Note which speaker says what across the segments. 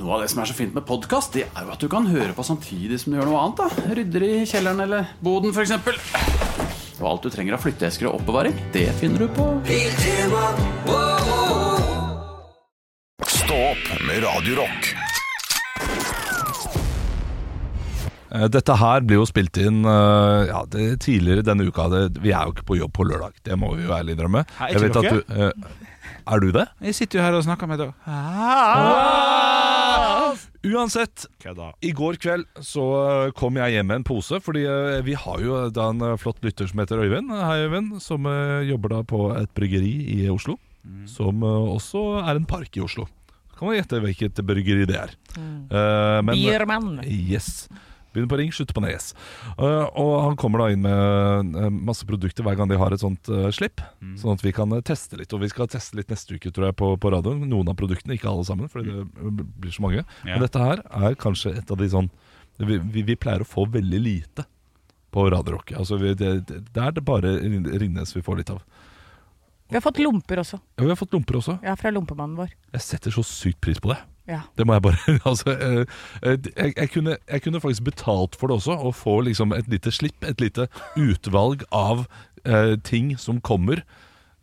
Speaker 1: Noe av det som er så fint med podkast, det er jo at du kan høre på samtidig som du gjør noe annet. da Rydder i kjelleren eller boden, f.eks. Og alt du trenger av flytteesker og oppbevaring, det finner du på
Speaker 2: Stå opp med Radio Rock.
Speaker 3: Eh, Dette her blir jo spilt inn eh, ja, det, tidligere denne uka. Det, vi er jo ikke på jobb på lørdag, det må vi jo ærlig innrømme.
Speaker 4: Nei, ikke
Speaker 3: Jeg vet
Speaker 4: dere.
Speaker 3: at du, eh, er du det?
Speaker 4: Jeg sitter jo her og snakker med deg.
Speaker 3: Ah! Uansett,
Speaker 4: Kødda.
Speaker 3: i går kveld så eh, kom jeg hjem med en pose, fordi eh, vi har jo da en eh, flott lytter som heter Øyvind, hei Øyvind, som eh, jobber da på et bryggeri i Oslo, som eh, også er en park i Oslo. Kan man gjette hvilket bryggeri det er? Eh, men-
Speaker 5: Biermann.
Speaker 3: Yes. Begynner på ring, slutter på nes. Uh, og han kommer da inn med eh, masse produkter hver gang de har et sånt eh, slipp. Sånn at vi kan eh, teste litt. Og vi skal teste litt neste uke tror jeg på, på radioen. Noen av produktene, ikke alle sammen, fordi det eh, blir så mange.
Speaker 4: Ja.
Speaker 3: Men dette her er kanskje et av de sånn Vi, vi, vi pleier å få veldig lite på radiorock. Altså, vi, det, det, det er det bare Ringnes vi får litt av.
Speaker 5: Vi har fått lomper også.
Speaker 3: Ja, vi har fått lomper også.
Speaker 5: Ja, fra lompemannen vår.
Speaker 3: Jeg setter så sykt pris på det.
Speaker 5: Ja.
Speaker 3: Det må jeg bare altså, eh, eh, jeg, jeg, kunne, jeg kunne faktisk betalt for det også, å få liksom et lite slipp, et lite utvalg av eh, ting som kommer.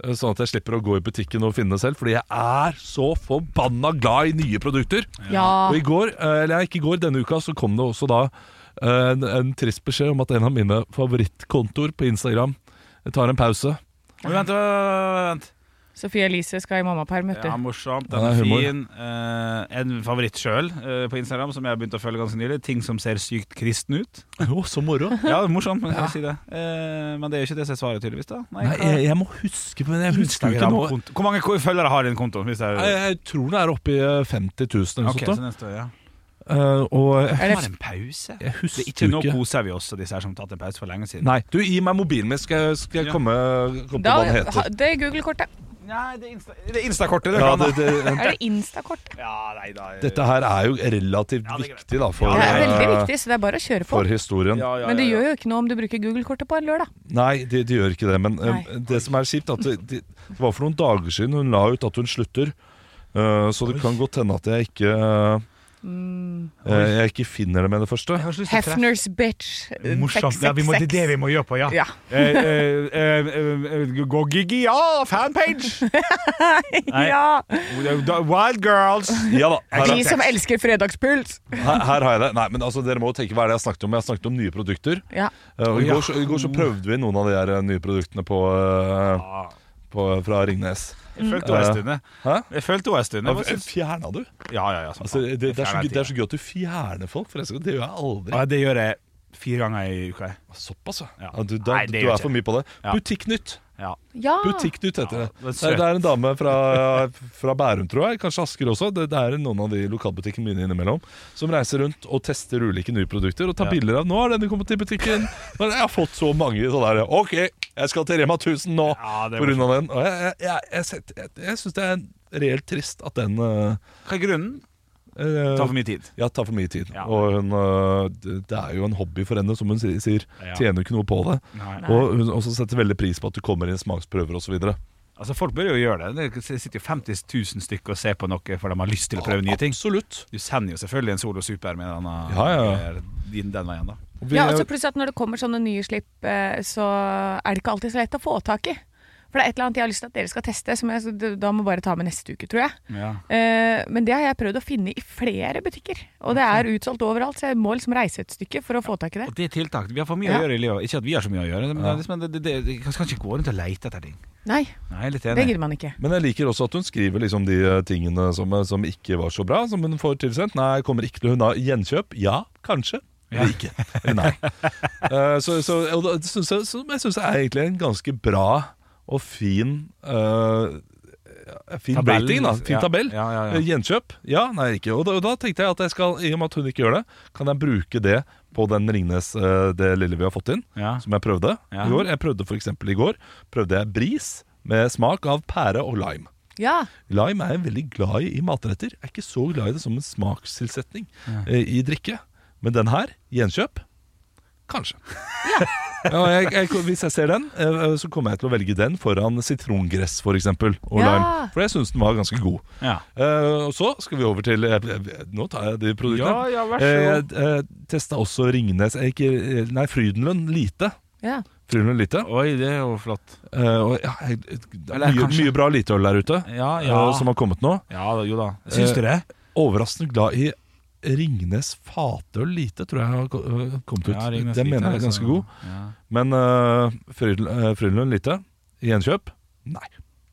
Speaker 3: eh, Sånn at jeg slipper å gå i butikken og finne det selv, fordi jeg er så forbanna glad i nye produkter.
Speaker 5: Ja.
Speaker 3: Og i går, eh, eller ikke i går, denne uka så kom det også da eh, en, en trist beskjed om at en av mine favorittkontoer på Instagram eh, tar en pause.
Speaker 4: Men vent, vent, vent.
Speaker 5: Sofie Elise skal i mammaperm, vet du.
Speaker 4: Ja, morsomt. Den
Speaker 3: Ja, det
Speaker 4: er
Speaker 3: er humor.
Speaker 4: fin. Eh, en favoritt sjøl eh, på Instagram som jeg har begynt å følge ganske nylig. Ting som ser sykt kristen ut.
Speaker 3: Å, så moro!
Speaker 4: Ja, det er morsomt, men jeg skal si det. Eh, men det er jo ikke det som er svaret, tydeligvis. da Nei,
Speaker 3: Nei,
Speaker 4: hva-
Speaker 3: jeg, jeg må huske men jeg husker jo ikke noe.
Speaker 4: Instagram-konto. Hvor mange ko- følgere har din konto? Hvis jeg,
Speaker 3: Jeg, jeg tror det er oppe i eh, 50 000 eller
Speaker 4: Ok,
Speaker 3: sånt. da.
Speaker 4: så neste år, ja.
Speaker 3: Eh, og jeg,
Speaker 5: Er
Speaker 4: Har
Speaker 5: det,
Speaker 4: en pause?
Speaker 3: jeg
Speaker 4: Det er
Speaker 3: husker
Speaker 4: ikke
Speaker 3: jo
Speaker 4: Nå
Speaker 3: ikke
Speaker 4: koser vi oss, og disse her som har tatt en pause for lenge siden.
Speaker 3: Nei, du gi meg mobilen min, skal jeg, skal jeg
Speaker 4: Ja.
Speaker 3: komme, komme på
Speaker 5: da,
Speaker 3: hva den
Speaker 5: ha,
Speaker 3: heter.
Speaker 5: det er Google-kortet.
Speaker 4: Nei, det er Insta- det er Insta-kortet.
Speaker 3: Ja,
Speaker 4: Insta
Speaker 3: det, det,
Speaker 5: Er det Insta-kortet?
Speaker 4: ja, nei da eh,
Speaker 3: dette her er jo relativt
Speaker 4: Ja, det er greit.
Speaker 3: viktig da, for,
Speaker 5: Det er veldig
Speaker 3: eh,
Speaker 5: viktig, så det er bare å kjøre på.
Speaker 3: for historien.
Speaker 4: ja, ja,
Speaker 5: Men det
Speaker 4: ja, ja.
Speaker 5: gjør jo ikke noe om du bruker Google-kortet på en lørdag.
Speaker 3: Nei, de, de gjør ikke det. Men eh,
Speaker 5: Nei.
Speaker 3: det som er kjipt, at det, det det var for noen dager siden hun la ut at hun slutter. eh, så det kan godt hende at jeg ikke
Speaker 5: Mm.
Speaker 3: eh, Jeg ikke finner det med det første.
Speaker 4: Jeg har så lyst til å treffe-
Speaker 5: Hefners bitch. eh,
Speaker 4: Morsomt. Ja, vi må, det er det vi må gjøre på, ja.
Speaker 5: Ja.
Speaker 4: Eh, eh, eh, eh, gå gigi, ja! Fanpage! Nei.
Speaker 5: Ja,
Speaker 4: Wild Girls.
Speaker 3: Ja da, her,
Speaker 5: De som elsker fredagspuls.
Speaker 3: her, her har jeg det. Nei, men altså, Dere må jo tenke hva er det jeg har snakket om. Jeg har snakket om nye produkter.
Speaker 5: Ja.
Speaker 3: Eh, og i,
Speaker 4: Ja.
Speaker 3: går, så, I går så prøvde vi noen av de her eh, nye produktene på, eh, på, fra Ringnes.
Speaker 4: Jeg følte henne en stund. jeg.
Speaker 3: Hæ?
Speaker 4: Jeg følte henne en stund. jeg bare synes-
Speaker 3: Fjerna du?
Speaker 4: Ja, ja, ja. som
Speaker 3: Altså, det,
Speaker 4: faen.
Speaker 3: det, er så,
Speaker 4: Fjernet
Speaker 3: gøy- det er så gøy at du fjerner folk, for det skal- det gjør jeg aldri.
Speaker 4: Ja, det gjør jeg fire ganger i uka. jeg.
Speaker 3: Såpass, ja.
Speaker 4: Ja.
Speaker 3: ja du, da,
Speaker 4: Nei, det
Speaker 3: du
Speaker 4: gjør
Speaker 3: er
Speaker 4: jeg
Speaker 3: for mye på det.
Speaker 4: Ja.
Speaker 3: Butikknytt!
Speaker 4: Ja.
Speaker 5: Ja.
Speaker 3: Butikknytt heter det.
Speaker 4: Ja, det
Speaker 3: Det er,
Speaker 4: er
Speaker 3: det er en dame fra, fra Bærum, tror jeg, kanskje Asker også. Det, det er noen av de lokalbutikkene mine innimellom som reiser rundt og tester ulike nye produkter og tar
Speaker 4: Ja.
Speaker 3: bilder av 'Nå har denne kommet til butikken'. Nå har Jeg har fått så mange sånne der 'Ok, jeg skal til Rema 1000 nå'.
Speaker 4: Ja, det
Speaker 3: på
Speaker 4: var
Speaker 3: grunn av den. Og jeg, jeg, jeg, jeg, setter- jeg, jeg syns det er reelt trist at den eh,
Speaker 4: Hva er grunnen?
Speaker 3: eh,
Speaker 4: Ta for mye tid.
Speaker 3: ja, tar for mye tid.
Speaker 4: Ja.
Speaker 3: Og hun, eh, det det er jo en hobby for henne, som hun sier- sier.
Speaker 4: Ja.
Speaker 3: Tjener ikke noe på det.
Speaker 4: Nei.
Speaker 3: Og hun også setter veldig pris på at det kommer inn smaksprøver osv.
Speaker 4: Altså, folk bør jo gjøre det. Det sitter jo 50 000 stykker og ser på noe for de har lyst til å prøve nye ting.
Speaker 3: Absolutt.
Speaker 4: Du sender jo selvfølgelig en solo super med denne
Speaker 3: Ja, ja,
Speaker 4: Den, den veien, da.
Speaker 3: Og vi-
Speaker 5: Ja, altså, og så plutselig at når det kommer sånne nye slipp, eh, så er det ikke alltid så lett å få tak i. For det er et eller annet jeg har lyst til at dere skal teste, som jeg så- da må bare ta med neste uke, tror jeg.
Speaker 4: Ja.
Speaker 5: Eh, Men det har jeg prøvd å finne i flere butikker, og det er utsolgt overalt, så jeg må liksom reise et stykke for å få tak i det.
Speaker 4: Og det er tiltak. Vi har for mye
Speaker 5: Ja.
Speaker 4: å gjøre i livet. Ikke at vi har så mye å gjøre, men det er liksom, det, det, det, jeg kan ikke gå rundt og leite etter ting.
Speaker 5: Nei,
Speaker 4: Nei, jeg er litt
Speaker 5: det
Speaker 4: enig.
Speaker 5: gidder man ikke.
Speaker 3: Men jeg liker også at hun skriver liksom de eh, tingene som, som ikke var så bra, som hun får tilsendt. Nei, kommer ikke til hun har gjenkjøp? Ja, kanskje. Eller ikke. Nei. Eh, så, så, og da synes jeg, så jeg syns det er egentlig en ganske bra og fin eh, Fin
Speaker 4: Tabell,
Speaker 3: rating, da. Fin
Speaker 4: ja.
Speaker 3: tabell.
Speaker 4: Ja, ja, ja.
Speaker 3: Eh, Gjenkjøp? Ja, nei, ikke. Og da, og da tenkte jeg at jeg skal, i og med at hun ikke gjør det, kan jeg bruke det på den Ringnes, eh, det lille vi har fått inn,
Speaker 4: Ja.
Speaker 3: som jeg prøvde
Speaker 4: Ja.
Speaker 3: i går. Jeg prøvde for eksempel i går Prøvde jeg bris med smak av pære og lime.
Speaker 5: Ja,
Speaker 3: Lime er jeg veldig glad i i matretter. Jeg er ikke så glad i det som en smakstilsetning eh, i drikke. Men den her, gjenkjøp, Kanskje. Ja, jeg, jeg, hvis jeg ser den, eh, så kommer jeg til å velge den foran sitrongress for eksempel, og
Speaker 5: Ja.
Speaker 3: lime. For jeg syns den var ganske god.
Speaker 4: Ja.
Speaker 3: Eh, og så skal vi over til eh, eh, Nå tar jeg de produktene.
Speaker 4: Ja, ja, vær så
Speaker 3: god. Jeg testa også Ringnes eh, ikke, eh, Nei, Frydenlund lite.
Speaker 5: Ja.
Speaker 3: Frydenlund lite.
Speaker 4: Oi, det er jo flott.
Speaker 3: Eh, og, ja, jeg, det er
Speaker 4: Eller
Speaker 3: mye,
Speaker 4: kanskje-
Speaker 3: mye bra liteøl der ute
Speaker 4: Ja, ja.
Speaker 3: eh, som har kommet nå. Eh,
Speaker 4: Ja da, jo da. Eh, Syns du det?
Speaker 3: Overraskende glad i Ringnes fatøl lite, tror jeg har ko- eh, kommet ut.
Speaker 4: Ja, Ringnes
Speaker 3: Den
Speaker 4: Lite
Speaker 3: mener jeg
Speaker 4: er
Speaker 3: er
Speaker 4: liksom-
Speaker 3: ganske
Speaker 4: så-
Speaker 3: god.
Speaker 4: Ja.
Speaker 3: Men uh, Frydenlund lite, gjenkjøp? Nei.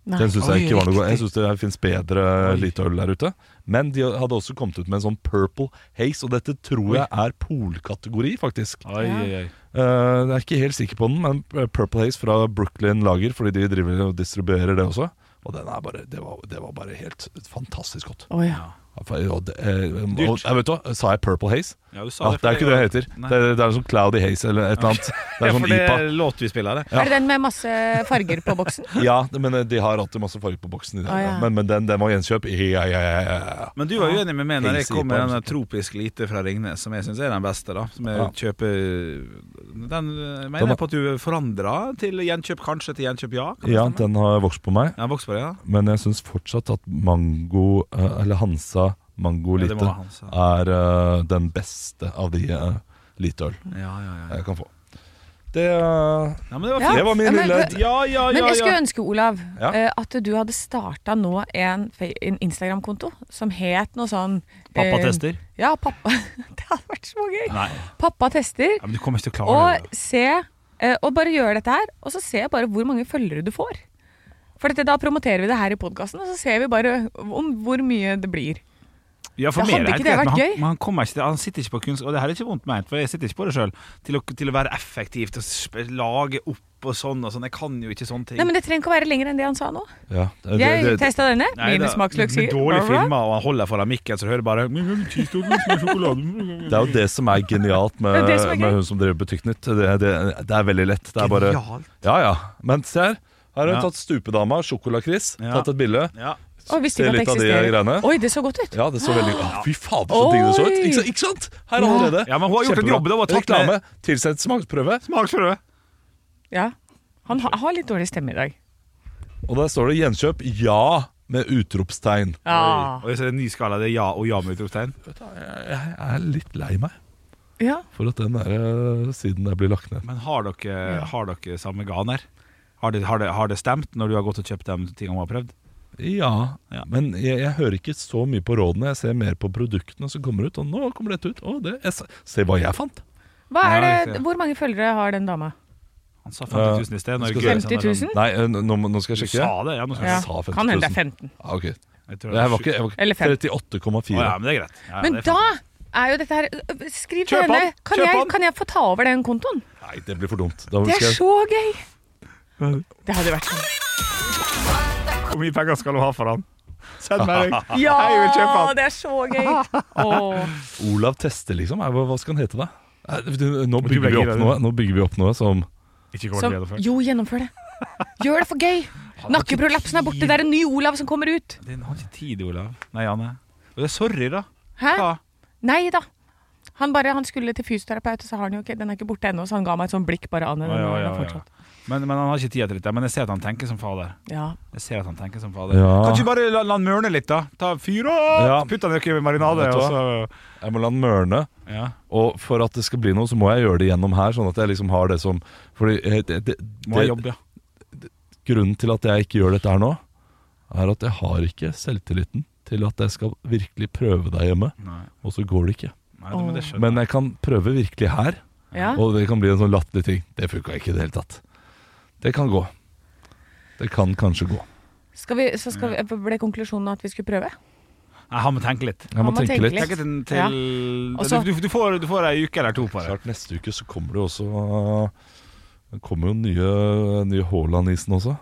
Speaker 5: Nei.
Speaker 3: Den syns jeg
Speaker 4: Oi,
Speaker 3: ikke var noe god.
Speaker 4: riktig.
Speaker 3: Jeg syns det fins bedre
Speaker 4: Oi.
Speaker 3: liteøl der ute. Men de hadde også kommet ut med en sånn Purple Haze, og dette tror
Speaker 4: Oi.
Speaker 3: jeg er polkategori, faktisk.
Speaker 4: Oi,
Speaker 5: Ja.
Speaker 4: oi, oi.
Speaker 3: Eh, jeg er ikke helt sikker på den, men eh, Purple Haze fra Brooklyn Lager, fordi de driver og distribuerer det også. Og den er bare, det, var, det var bare helt fantastisk godt.
Speaker 5: Å ja.
Speaker 3: Og det, eh, og,
Speaker 4: Dyrt.
Speaker 3: jeg vet du hva, Sa jeg Purple Haze?
Speaker 4: Ja, du
Speaker 3: Ja,
Speaker 4: sa
Speaker 3: det er
Speaker 4: for
Speaker 3: ikke det det heter.
Speaker 4: Nei.
Speaker 3: Det, er- det er sånn Cloudy Haze eller et eller annet. Det
Speaker 4: Ja,
Speaker 3: er
Speaker 4: for
Speaker 3: sånn
Speaker 4: det
Speaker 3: IPA.
Speaker 4: er låt vi spiller, det.
Speaker 3: Ja.
Speaker 5: Er det den med masse farger på boksen?
Speaker 3: Ja, men eh, de har alltid masse farger på boksen. I det.
Speaker 5: Å, ja.
Speaker 3: Men, men den, den var gjenkjøp. Ja, ja, ja, ja, ja.
Speaker 4: Men du var uenig med meg når jeg
Speaker 3: Hilse
Speaker 4: kom med
Speaker 3: IPA.
Speaker 4: den der tropisk lite fra Ringnes, som jeg syns er den beste, da. Som jeg
Speaker 3: Ja.
Speaker 4: kjøper Den eh,
Speaker 3: Den
Speaker 4: mener
Speaker 3: var-
Speaker 4: jeg på at du forandra til gjenkjøp kanskje til gjenkjøp ja? Kan det
Speaker 3: Ja,
Speaker 4: stemme?
Speaker 3: den har vokst på meg,
Speaker 4: Ja, voks på det, ja.
Speaker 3: men jeg syns fortsatt at Mango, eh, eller Hansa Mango
Speaker 4: Ja, det
Speaker 3: Lite,
Speaker 4: må være Hansa.
Speaker 3: er eh, den beste av de uh, liteøl
Speaker 4: Ja, ja, ja.
Speaker 3: jeg kan få. Det, eh,
Speaker 4: ja men det var
Speaker 5: Ja.
Speaker 4: fint.
Speaker 3: det var min
Speaker 5: men-
Speaker 3: lille
Speaker 4: Ja, ja,
Speaker 5: Men
Speaker 4: ja,
Speaker 5: jeg skulle
Speaker 4: ja.
Speaker 5: ønske, Olav,
Speaker 3: Ja.
Speaker 5: eh, at du hadde starta nå en, fe- en Instagram-konto som het noe sånn eh, Ja, pappa Det hadde vært så gøy!
Speaker 4: Nei,
Speaker 5: Pappa tester,
Speaker 4: ja, men du kommer ikke til å klare
Speaker 5: og
Speaker 4: det.
Speaker 5: se eh, Og bare gjør dette her, og så ser jeg bare hvor mange følgere du får. For dette, da promoterer vi det her i podkasten, og så ser vi bare om hvor mye det blir.
Speaker 4: Ja, for
Speaker 5: Ja,
Speaker 4: meg er
Speaker 5: hadde ikke
Speaker 4: helt
Speaker 5: det
Speaker 4: greit,
Speaker 5: vært
Speaker 4: men
Speaker 5: gøy?
Speaker 4: Han, men han, kommer ikke, til- han sitter ikke på kunst, og det her er ikke vondt ment, for jeg sitter ikke på det sjøl, til, å- til å være effektiv, til å sp- lage opp og sånn og sånn. Jeg kan jo ikke sånne ting.
Speaker 5: Nei, men Det trenger ikke å være lenger enn det han sa nå.
Speaker 3: ja, det, det,
Speaker 5: Jeg
Speaker 3: det,
Speaker 5: testa denne.
Speaker 4: Nei,
Speaker 5: Mine
Speaker 4: da,
Speaker 5: smaksløker.
Speaker 4: med Dårlig
Speaker 5: bla, bla, bla.
Speaker 4: filmer, og han holder foran mikken, så du hører bare
Speaker 3: det er jo det som er genialt med,
Speaker 5: Det er det som er gøy.
Speaker 3: med hun som driver Butikknytt. Det, det, det er veldig lett. Det er bare Ja ja. Men se her. Her har hun
Speaker 4: Ja.
Speaker 3: tatt stupedama, sjokolakris,
Speaker 4: Ja.
Speaker 3: tatt et bilde.
Speaker 4: Ja.
Speaker 5: Å, visste
Speaker 3: Se
Speaker 5: ikke at det
Speaker 3: litt av de
Speaker 5: eksisterer.
Speaker 3: greiene.
Speaker 5: Oi, det så godt ut.
Speaker 3: Ja, det så veldig Å, Fy fader, så digg det så ut!
Speaker 5: Oi!
Speaker 3: Ikke, sant- ikke sant? Her allerede.
Speaker 4: Ja, men hun har gjort en
Speaker 3: Kjempebra.
Speaker 4: jobb, det var tatt
Speaker 3: Reklame, tilsett smaksprøve,
Speaker 4: Smaksprøve.
Speaker 5: Ja. Han ha- har litt dårlig stemme i dag.
Speaker 3: og der står det 'gjenkjøp ja' med utropstegn.
Speaker 5: Ja.
Speaker 4: Oi, så er det en ny skala. Det er ja og ja med utropstegn.
Speaker 3: Jeg er litt lei meg
Speaker 5: ja.
Speaker 3: for at den der eh, siden der blir lagt ned.
Speaker 4: Men har dere, har dere samme ganer? Har det, har, det, har det stemt når du har gått og kjøpt de tingene hun har prøvd?
Speaker 3: Ja,
Speaker 4: Ja.
Speaker 3: men jeg, jeg hører ikke så mye på rådene. Jeg ser mer på produktene som kommer ut. Og nå kommer dette ut. Å, det, jeg, sa- se hva jeg fant!
Speaker 5: Hva
Speaker 4: Ja,
Speaker 5: er
Speaker 4: riktig.
Speaker 5: det, hvor mange følgere har den dama?
Speaker 4: Han sa 50 000 i sted. Nå er det
Speaker 3: skal
Speaker 4: gøy,
Speaker 3: vi
Speaker 4: sånn der,
Speaker 5: 50 000?
Speaker 3: Nei, eh, nå, nå- nå skal
Speaker 4: Du
Speaker 3: jeg sjekke.
Speaker 4: sa det, ja. Nå skal
Speaker 5: Ja.
Speaker 4: jeg
Speaker 3: sa 50 000.
Speaker 5: Kan hende det er 15 000.
Speaker 3: Ah, ok.
Speaker 4: Jeg tror
Speaker 3: Jeg
Speaker 4: det er
Speaker 3: var ikke, jeg var
Speaker 5: Eller
Speaker 3: ikke
Speaker 5: fem.
Speaker 3: 38,4.
Speaker 4: sju- Å, ja, men det er greit. Ja,
Speaker 5: Men
Speaker 4: det er
Speaker 5: da
Speaker 4: fint.
Speaker 5: er jo dette her øh, Skriv til
Speaker 4: Kjøp
Speaker 5: henne.
Speaker 4: han!
Speaker 5: Kan
Speaker 4: Kjøp
Speaker 5: jeg,
Speaker 4: han!
Speaker 5: kan jeg få ta over den kontoen?
Speaker 3: Nei, det blir for dumt. Da
Speaker 5: Det
Speaker 3: skal
Speaker 5: er
Speaker 3: jeg
Speaker 5: så gøy! Det hadde vært sånn.
Speaker 4: Hvor mye penger skal du ha for han? Send meg deg.
Speaker 5: Ja,
Speaker 4: Jeg vil kjøpe han.
Speaker 5: det er så gøy! Åh.
Speaker 3: Olav Teste, liksom? Er, hva, hva skal han hete, da? Er, du- Nå
Speaker 4: Du
Speaker 3: bygger,
Speaker 4: ble
Speaker 3: vi
Speaker 4: gira,
Speaker 3: opp
Speaker 4: du.
Speaker 3: noe, nå bygger vi opp noe som
Speaker 4: Ikke kommer
Speaker 5: Så,
Speaker 4: til å gjennomføre.
Speaker 5: jo, gjennomfør det. Gjør det for gøy. Nakkeprolapsen er borte. Det er en ny Olav som kommer ut.
Speaker 4: Den har ikke tid, Olav. Nei, Janne. Og det er sorry, da.
Speaker 5: Hæ?
Speaker 4: Ja.
Speaker 5: Nei da. Han, bare, han skulle til fysioterapeut, og så har han jo ikke Den er ikke borte ennå, så han ga meg et sånt blikk bare Anne.
Speaker 4: Å,
Speaker 5: Den
Speaker 4: ja,
Speaker 5: er
Speaker 4: ja, ja.
Speaker 5: der fortsatt.
Speaker 4: Men, men han har ikke tida til dette. Men jeg ser at han tenker som fader.
Speaker 5: Ja.
Speaker 4: Jeg ser at han tenker som fader
Speaker 3: Ja.
Speaker 4: Kan ikke du bare la, la han mørne litt, da? Ta Fyr opp!
Speaker 3: Ja.
Speaker 4: Putt han ikke i marinade,
Speaker 3: Vet du hva?
Speaker 4: og så
Speaker 3: Jeg må la den mørne.
Speaker 4: ja.
Speaker 3: Og for at det skal bli noe, så må jeg gjøre det gjennom her. Sånn at jeg liksom har det som Fordi eh, det, det,
Speaker 4: Må ha
Speaker 3: det,
Speaker 4: jobb, ja.
Speaker 3: Grunnen til at jeg ikke gjør dette her nå, er at jeg har ikke selvtilliten til at jeg skal virkelig prøve der hjemme.
Speaker 4: Nei,
Speaker 3: Og så går det ikke.
Speaker 4: Nei det, men det skjønner
Speaker 3: Men jeg kan prøve virkelig her,
Speaker 5: ja.
Speaker 3: og det kan bli en sånn latterlig ting. Det funka ikke i det hele tatt. Det kan gå. Det kan kanskje gå.
Speaker 5: Skal vi, så skal vi, ble konklusjonen at vi skulle prøve?
Speaker 4: Nei, han må tenke litt.
Speaker 3: Jeg må,
Speaker 5: Man må
Speaker 3: tenke
Speaker 5: tenke
Speaker 3: litt.
Speaker 5: litt.
Speaker 4: Tenke til, til
Speaker 5: Ja. Og så-
Speaker 4: du, du, du, får, du får ei uke eller to på det.
Speaker 3: Klart, neste uke så kommer det jo også det kommer jo nye, nye Haaland-isen også.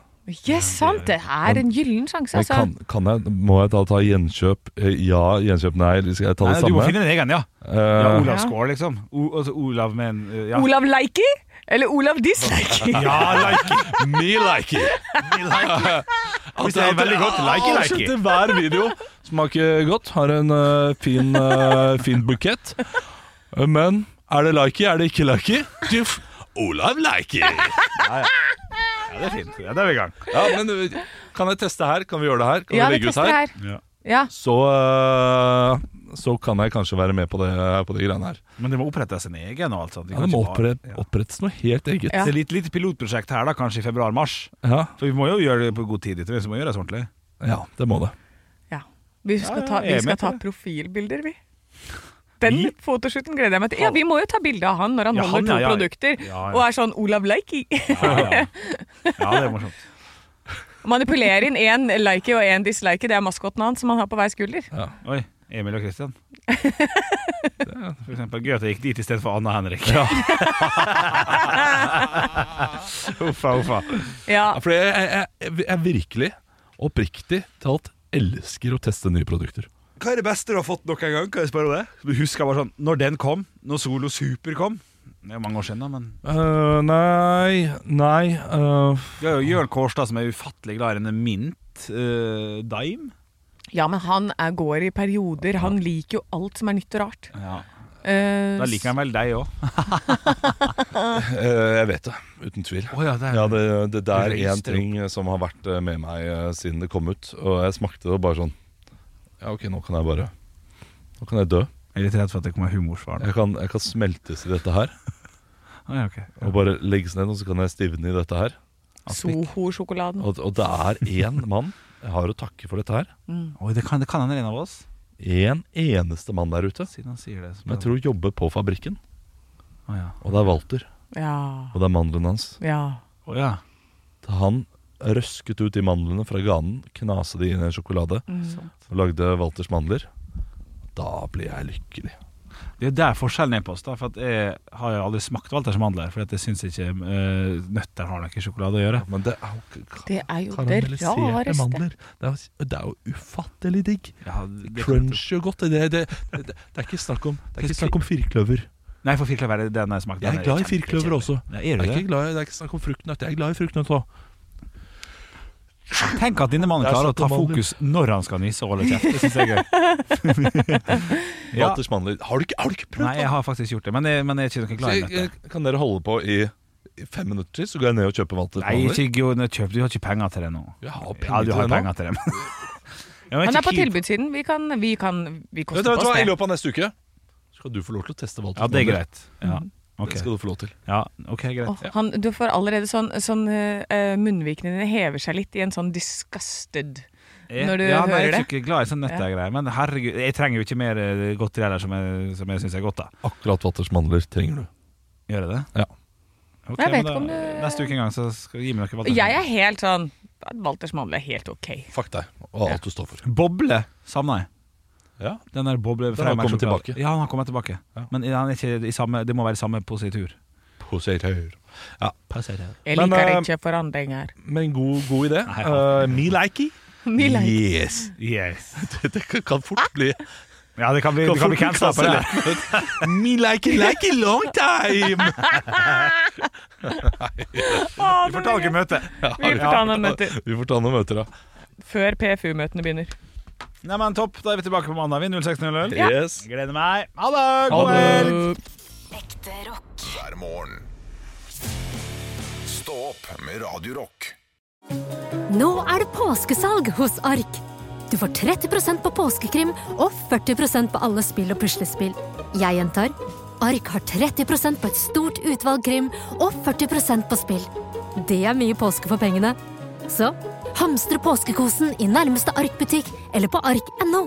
Speaker 5: Yes, sant! Det er en gyllen sjanse,
Speaker 3: Men
Speaker 5: altså.
Speaker 3: kan, kan jeg, må jeg da ta gjenkjøp? Eh, Ja, gjenkjøp nei, eller skal jeg ta
Speaker 4: Nei,
Speaker 3: det
Speaker 4: du må
Speaker 3: samme?
Speaker 4: finne din egen, ja. ja
Speaker 3: Eh,
Speaker 4: Olav
Speaker 5: Ja.
Speaker 4: Skål, liksom. O, altså Olav med en uh, ja.
Speaker 5: Olav Leiki eller Olav Dislike?
Speaker 4: Ja, likey.
Speaker 3: Me like it!
Speaker 4: Me likey. Vi sier veldig godt likey, likey.
Speaker 3: Avslutter hver video. Smaker godt, har en eh, fin, eh, fin bukett. Eh, Men Er det likey, er det ikke likey? Tjuff. Olav likey.
Speaker 4: Ja, det er fint. Ja, da er vi i gang.
Speaker 3: Ja, men uh, kan jeg teste her? Kan vi gjøre det her? Kan
Speaker 5: Ja,
Speaker 3: vi
Speaker 5: vi
Speaker 3: legge ut
Speaker 5: tester
Speaker 3: her?
Speaker 5: her. Ja.
Speaker 3: Så, uh, så kan jeg kanskje være med på det, på de greiene her.
Speaker 4: Men det må opprettes en egen og alt sånt. Vi
Speaker 3: Ja,
Speaker 4: kan
Speaker 3: det må
Speaker 4: ikke bare-
Speaker 3: oppre- opprettes noe helt eget.
Speaker 5: Ja.
Speaker 4: Det er litt, litt pilotprosjekt her, da, kanskje i februar-mars.
Speaker 3: Ja,
Speaker 4: For vi må jo gjøre det på god tid. etter, Så vi må gjøre det sånn ordentlig.
Speaker 3: ja det må det.
Speaker 5: ja. Vi skal
Speaker 4: ja,
Speaker 5: ta,
Speaker 4: jeg
Speaker 5: vi
Speaker 4: er
Speaker 5: skal
Speaker 4: med på
Speaker 5: ta
Speaker 4: det.
Speaker 5: profilbilder, vi. Den
Speaker 4: Vi?
Speaker 5: fotoshooten gleder jeg meg til. Ja, Vi må jo ta bilde av han når han
Speaker 4: Ja,
Speaker 5: holder
Speaker 4: han, ja,
Speaker 5: to
Speaker 4: ja.
Speaker 5: produkter
Speaker 4: Ja, ja.
Speaker 5: og er sånn Olav Leiki.
Speaker 4: Ja, ja. ja det er morsomt.
Speaker 5: Manipulere inn én likey og én dislike, det er maskoten hans som han har på hver skulder.
Speaker 4: Oi, Emil og Kristian. For eksempel, gøy at jeg gikk dit istedenfor Anna Henrik. uffa, uffa.
Speaker 5: Ja,
Speaker 3: Ja, for jeg, jeg, jeg, jeg virkelig, oppriktig talt, elsker å teste nye produkter.
Speaker 4: Hva er det beste du har fått noen gang? Kan jeg spørre om det? Du husker bare sånn, når den kom, når Solo Super kom Det er jo mange år siden, da, men
Speaker 3: Eh, nei, nei eh,
Speaker 4: Vi har jo Jørn Kårstad, som er ufattelig glad i denne mint eh, daim.
Speaker 5: ja men han er, går i perioder. Han liker jo alt som er nytt og rart. Eh,
Speaker 4: Da liker han vel deg òg.
Speaker 3: eh, Jeg vet det, uten tvil. Ja, det, det der er en
Speaker 4: Reiser
Speaker 3: ting som har vært eh, med meg eh, siden det kom ut. Og jeg smakte det og bare sånn Ja, ok, nå kan jeg bare Nå kan jeg dø.
Speaker 4: Jeg er litt redd for at det kommer humorsvar. nå.
Speaker 3: Jeg kan, jeg kan smeltes i dette her.
Speaker 4: Ah, ja, ok.
Speaker 3: Og bare legges ned, og så kan jeg stivne i dette her.
Speaker 5: Soho-sjokoladen.
Speaker 3: Og, og det er én mann jeg har å takke for dette her. Mm.
Speaker 4: Oi, det kan, det kan hende en av oss,
Speaker 3: En eneste mann der ute
Speaker 4: siden han sier det. som
Speaker 3: som jeg tror jobber på fabrikken.
Speaker 4: Å ja.
Speaker 3: Og det er Walter.
Speaker 5: Ja.
Speaker 3: Og det er mandelen hans.
Speaker 5: ja.
Speaker 4: Å ja.
Speaker 3: Han røsket ut de mandlene fra ganen, knase de inn i en sjokolade
Speaker 5: Mm.
Speaker 3: og lagde Walters mandler. Da ble jeg lykkelig.
Speaker 4: Det er der forskjellen er på oss. da For at Jeg har jo aldri smakt Walters mandler, for jeg syns ikke eh, nøtter har noe sjokolade å gjøre.
Speaker 3: Men det er jo k- k-
Speaker 5: Det er jo det
Speaker 3: karamelliserte
Speaker 5: rareste.
Speaker 3: mandler. Det er, jo- det er jo ufattelig digg.
Speaker 4: Ja, det-
Speaker 3: Crunchy og godt. Det, det, det, det, det er ikke snakk om, det er ikke snakk om firkløver.
Speaker 4: Nei, for firkløver er det den jeg har smakt.
Speaker 3: Jeg er glad i firkløver også.
Speaker 4: Ja,
Speaker 3: Jeg
Speaker 4: er
Speaker 3: er
Speaker 4: du
Speaker 3: ikke
Speaker 4: det?
Speaker 3: glad i, det er ikke snakk om fruktnøtt. Jeg er glad i fruktnøtt òg.
Speaker 4: Tenk at denne mannen
Speaker 3: Det er
Speaker 4: klarer å
Speaker 3: sånn
Speaker 4: ta
Speaker 3: på mandler.
Speaker 4: fokus når han skal nisse og holde kjeft. Det syns jeg er gøy. Ja.
Speaker 3: Walters mandler. Har du ikke, har du ikke prøvd?
Speaker 4: Nei, jeg har faktisk gjort det, men jeg, men jeg er ikke noe
Speaker 3: Så
Speaker 4: glad i
Speaker 3: eh,
Speaker 4: nøtter.
Speaker 3: jeg- jeg- Kan dere holde på i i fem minutter til, så går jeg ned og kjøper Walters
Speaker 4: Nei,
Speaker 3: mandler?
Speaker 4: ikke gå ned og kjøp. Du har ikke penger til det nå.
Speaker 3: Jeg har penger
Speaker 4: Ja, du har
Speaker 3: til det nå.
Speaker 4: penger til det. men- Ja, men
Speaker 5: Han
Speaker 4: ikke
Speaker 5: er på
Speaker 4: keen-
Speaker 5: tilbudssiden. Vi kan, vi kan vi
Speaker 3: Vet
Speaker 5: koster
Speaker 3: du vet du hva,
Speaker 5: på
Speaker 3: I
Speaker 5: oss det.
Speaker 3: løpet av neste uke skal du få lov til å teste Walters
Speaker 4: Ja, det er
Speaker 3: mandler.
Speaker 4: greit. Ja, ok,
Speaker 3: Det skal du få lov til.
Speaker 4: ja, ok, greit.
Speaker 5: Åh, han, du får allerede sånn, sånn eh, Munnvikene dine hever seg litt i en sånn disgusted. Når du
Speaker 4: ja, nei,
Speaker 5: hører
Speaker 4: Jeg er
Speaker 5: det.
Speaker 4: ikke glad i sånn nøttegreier, men herregud, jeg trenger jo ikke mer eh, godteri heller som jeg, som jeg syns er godt, da.
Speaker 3: Akkurat Walters mandler trenger du.
Speaker 4: Gjør jeg det?
Speaker 3: Ja.
Speaker 4: Ok,
Speaker 5: Jeg vet
Speaker 4: men da,
Speaker 5: ikke om du-
Speaker 4: Neste uke en gang så skal du gi meg noe
Speaker 5: Og jeg er helt sånn Walters mandel er helt ok.
Speaker 3: Fuck deg og alt du står for.
Speaker 4: Boble savner jeg.
Speaker 3: Ja.
Speaker 4: Den der boble
Speaker 3: Den har
Speaker 4: Freia med
Speaker 3: kommet
Speaker 4: sjokolade.
Speaker 3: tilbake.
Speaker 4: Ja, han har kommet tilbake.
Speaker 3: Ja.
Speaker 4: Men han er ikke i samme, det må være samme positur.
Speaker 3: Ja.
Speaker 5: Jeg
Speaker 3: Men,
Speaker 5: liker
Speaker 3: eh,
Speaker 5: ikke forandringer.
Speaker 3: Men god, god idé.
Speaker 4: Nei, ja.
Speaker 3: Eh, me likey.
Speaker 5: Me likey.
Speaker 3: Yes.
Speaker 4: Yes.
Speaker 3: Det, det kan- kan fort bli
Speaker 4: Ja, det kan bli, det kan bli cancela
Speaker 3: altså.
Speaker 4: på det. her.
Speaker 3: Me likey likey long time!
Speaker 5: Åh,
Speaker 4: Vi får ta
Speaker 5: det var
Speaker 4: dere
Speaker 5: gøy.
Speaker 4: møte.
Speaker 5: Vi får ta noen møter
Speaker 3: Vi får ta noen møter, da.
Speaker 5: før PFU-møtene begynner.
Speaker 4: Nei, men topp, da er vi tilbake på mandag, vi. 06.00.
Speaker 5: Ja.
Speaker 3: Yes.
Speaker 4: Gleder meg. Ha det!
Speaker 3: Ha
Speaker 4: God helg!
Speaker 3: det.
Speaker 6: Ekte rock.
Speaker 2: hver morgen. Stå opp med Radio Rock.
Speaker 7: Nå er det påskesalg hos Ark. Du får 30 på påskekrim og 40 på alle spill og puslespill. Jeg gjentar Ark har 30 på et stort utvalg krim og 40 på spill. Det er mye påske for pengene. Så hamstre påskekosen i nærmeste Ark-butikk eller på ark.no.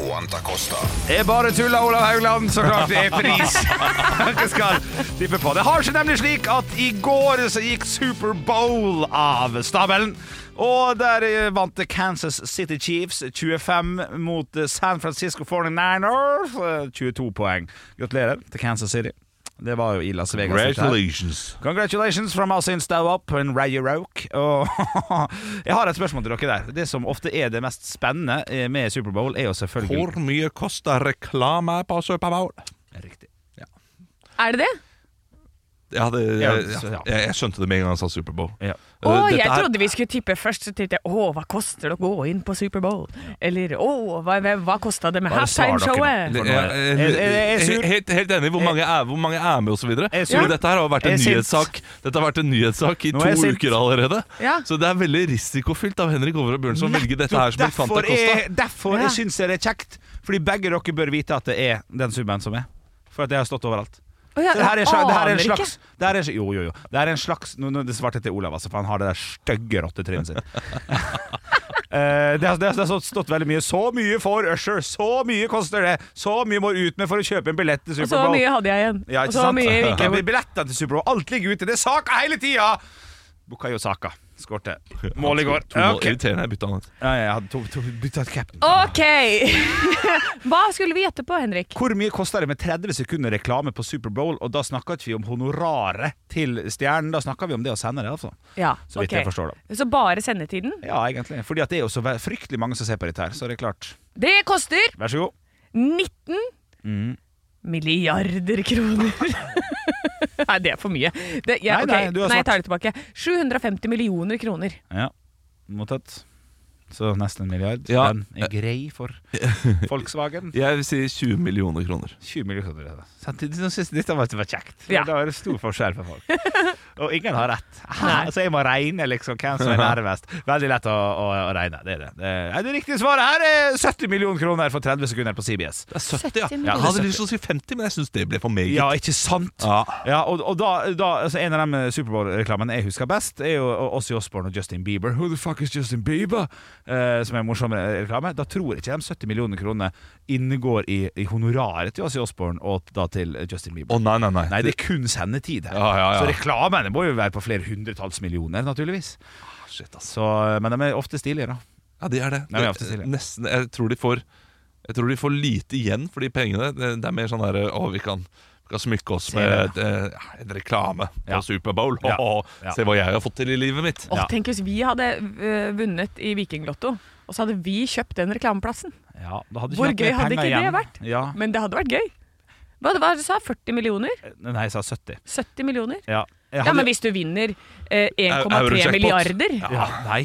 Speaker 2: Quanta Costa.
Speaker 4: Jeg bare tuller, Olav Haugland. Så klart det er pris. Dere skal tippe på. Det har seg nemlig slik at i går så gikk Superbowl av stabelen. Og der eh, vant det Kansas City Chiefs 25 mot eh, San Francisco 49ers. eh, 22 poeng. Gratulerer til Kansas City. Det var jo i Las Vegas. dette her. Congratulations from us in Stowup and Radio Roke. Og jeg har et spørsmål til dere der. Det som ofte er det mest spennende eh, med Superbowl, er jo selvfølgelig
Speaker 3: Hvor mye koster reklame på Superbowl?
Speaker 4: Riktig.
Speaker 5: Er det det?
Speaker 3: jeg, hadde, jeg,
Speaker 4: Ja, så-
Speaker 3: jeg,
Speaker 4: ja.
Speaker 3: jeg skjønte det med en gang han sa Superbowl.
Speaker 4: Ja.
Speaker 3: Eh,
Speaker 5: Å,
Speaker 3: dette
Speaker 5: jeg
Speaker 3: her-
Speaker 5: trodde vi skulle tippe først, så tenkte jeg å, hva koster det å gå inn på Superbowl? Eller å, hva, hva kosta det med
Speaker 4: Bare svar dere,
Speaker 5: halftime-showet?
Speaker 4: da.
Speaker 3: Jeg-
Speaker 4: Er-
Speaker 3: jeg-
Speaker 4: er- er- er-
Speaker 3: jeg- eh, Helt, helt enig. Hvor mange er, hvor mange er med, osv.
Speaker 4: Er sur.
Speaker 3: Dette her har vært
Speaker 4: Er
Speaker 3: en
Speaker 4: sint.
Speaker 3: nyhetssak Dette har vært en nyhetssak i
Speaker 4: Nå er jeg
Speaker 3: to
Speaker 4: sint.
Speaker 3: uker allerede.
Speaker 5: Ja.
Speaker 3: Så det er veldig risikofylt av Henrik Over og Bjørnson å velge dette her som et Fanta
Speaker 4: Derfor,
Speaker 3: Costa.
Speaker 4: er, derfor
Speaker 5: Ja.
Speaker 4: jeg syns jeg det er kjekt. Fordi begge dere bør vite at det er den summen som er. For at det har stått overalt.
Speaker 5: Å ja,
Speaker 4: Så det her er,
Speaker 5: jeg
Speaker 4: sla- det her er en
Speaker 5: aner
Speaker 4: slags det her er, sl- Jo, jo, jo. Det her er en slags Nå, nå det svarte jeg til Olav, altså, for han har det der stygge rottetrynet sitt. Eh, det, har- det, har- det har stått- stått veldig mye. Så mye får Usher! Så mye koster det! Så mye må du ut med for å kjøpe en billett til
Speaker 5: ikke. Og så
Speaker 4: Superbowl!
Speaker 5: mye hadde jeg igjen.
Speaker 4: Ja,
Speaker 5: og
Speaker 4: ikke
Speaker 5: så
Speaker 4: sant?
Speaker 5: mye gikk jeg
Speaker 4: Det
Speaker 5: bort.
Speaker 4: blir billetter til Superbowl. Alt ligger ute. Det er saker hele tida! Bukayo Saka skårte mål i går.
Speaker 3: To mål.
Speaker 4: Ok.
Speaker 3: Irriterende. Jeg bytta han ut.
Speaker 4: Ja, jeg hadde to, to, bytta ut cap'n.
Speaker 5: Ok! Hva skulle vi gjette på, Henrik?
Speaker 4: Hvor mye koster det med 30 sekunder reklame på Superbowl? Og da snakker ikke vi om honoraret til stjernen, da snakker vi om det å sende det. altså
Speaker 5: Ja,
Speaker 4: Så vidt
Speaker 5: ok.
Speaker 4: jeg forstår, da.
Speaker 5: Så bare sendetiden?
Speaker 4: Ja, egentlig. Fordi at det er jo så ve- fryktelig mange som ser på dette her, så det er klart.
Speaker 5: Det koster
Speaker 4: Vær så god.
Speaker 5: 19
Speaker 4: Mm.
Speaker 5: milliarder kroner. nei, det er for mye. Det, jeg,
Speaker 4: Nei,
Speaker 5: ok.
Speaker 4: nei, du har
Speaker 5: nei, jeg tar det tilbake. 750 millioner kroner.
Speaker 4: Ja, mottatt. Så nesten en milliard.
Speaker 3: Ja.
Speaker 4: Den er grei for Volkswagen.
Speaker 3: Jeg vil si 20 millioner kroner.
Speaker 4: 20 millioner kroner. da. Så de- de synes Dette var, det var kjekt.
Speaker 5: Ja.
Speaker 4: Da er det stor forskjell på folk. Og ingen har rett. Så jeg må regne liksom hvem som er nærmest. Veldig lett å, å, å regne. Det er det. Det, er det riktige svaret her er 70 millioner kroner for 30 sekunder på CBS.
Speaker 3: Det er 70, ja.
Speaker 5: 70 millioner.
Speaker 3: Jeg hadde lyst til å si 50, men jeg syns det ble for meget.
Speaker 4: Ja, ikke sant?
Speaker 3: Ja.
Speaker 4: Ja, og, og da, da altså En av de Superbowl-reklamene jeg husker best, er jo Ossie Osborne og Justin Bieber. Who the fuck is Justin Bieber? Eh, som er en morsom reklame. Da tror jeg ikke de 70 millioner kronene inngår i, i honoraret til Ossie Osborne og da til Justin Bieber.
Speaker 3: Å nei, nei, nei.
Speaker 4: Nei, det er kun sendetid her.
Speaker 3: Ja, ja, ja.
Speaker 4: Så reklamene må jo være på flere hundretalls millioner, naturligvis.
Speaker 3: Shit, ass.
Speaker 4: Så, men de er ofte stilige, da.
Speaker 3: Ja, det er det.
Speaker 4: Nei, vi er ofte
Speaker 3: det
Speaker 4: stille.
Speaker 3: nesten, jeg, tror de får, jeg tror de får lite igjen for de pengene. Det, det er mer sånn derre Å, vi kan, vi kan smykke oss
Speaker 4: Se
Speaker 3: med
Speaker 4: det.
Speaker 3: et, eh, ja, en reklame på
Speaker 4: Ja.
Speaker 3: Superbowl.
Speaker 4: Ja.
Speaker 3: Å,
Speaker 4: Ja.
Speaker 3: Se hva jeg har fått til i livet mitt.
Speaker 5: Åh,
Speaker 4: Ja.
Speaker 5: Tenk hvis vi hadde øh, vunnet i Vikinglotto, og så hadde vi kjøpt den reklameplassen.
Speaker 4: Ja, da hadde
Speaker 5: Hvor
Speaker 4: ikke vært
Speaker 5: gøy
Speaker 4: mer
Speaker 5: hadde
Speaker 4: penger
Speaker 5: ikke det
Speaker 4: igjen.
Speaker 5: vært?
Speaker 4: Ja.
Speaker 5: Men det hadde vært gøy. Hva hva du sa du? 40 millioner?
Speaker 4: Nei, jeg sa 70.
Speaker 5: 70 millioner?
Speaker 4: Ja, Jeg
Speaker 5: Ja,
Speaker 4: hadde-
Speaker 5: men hvis du vinner eh, 1,3
Speaker 3: Eurojackpot.
Speaker 5: milliarder
Speaker 4: ja, Nei.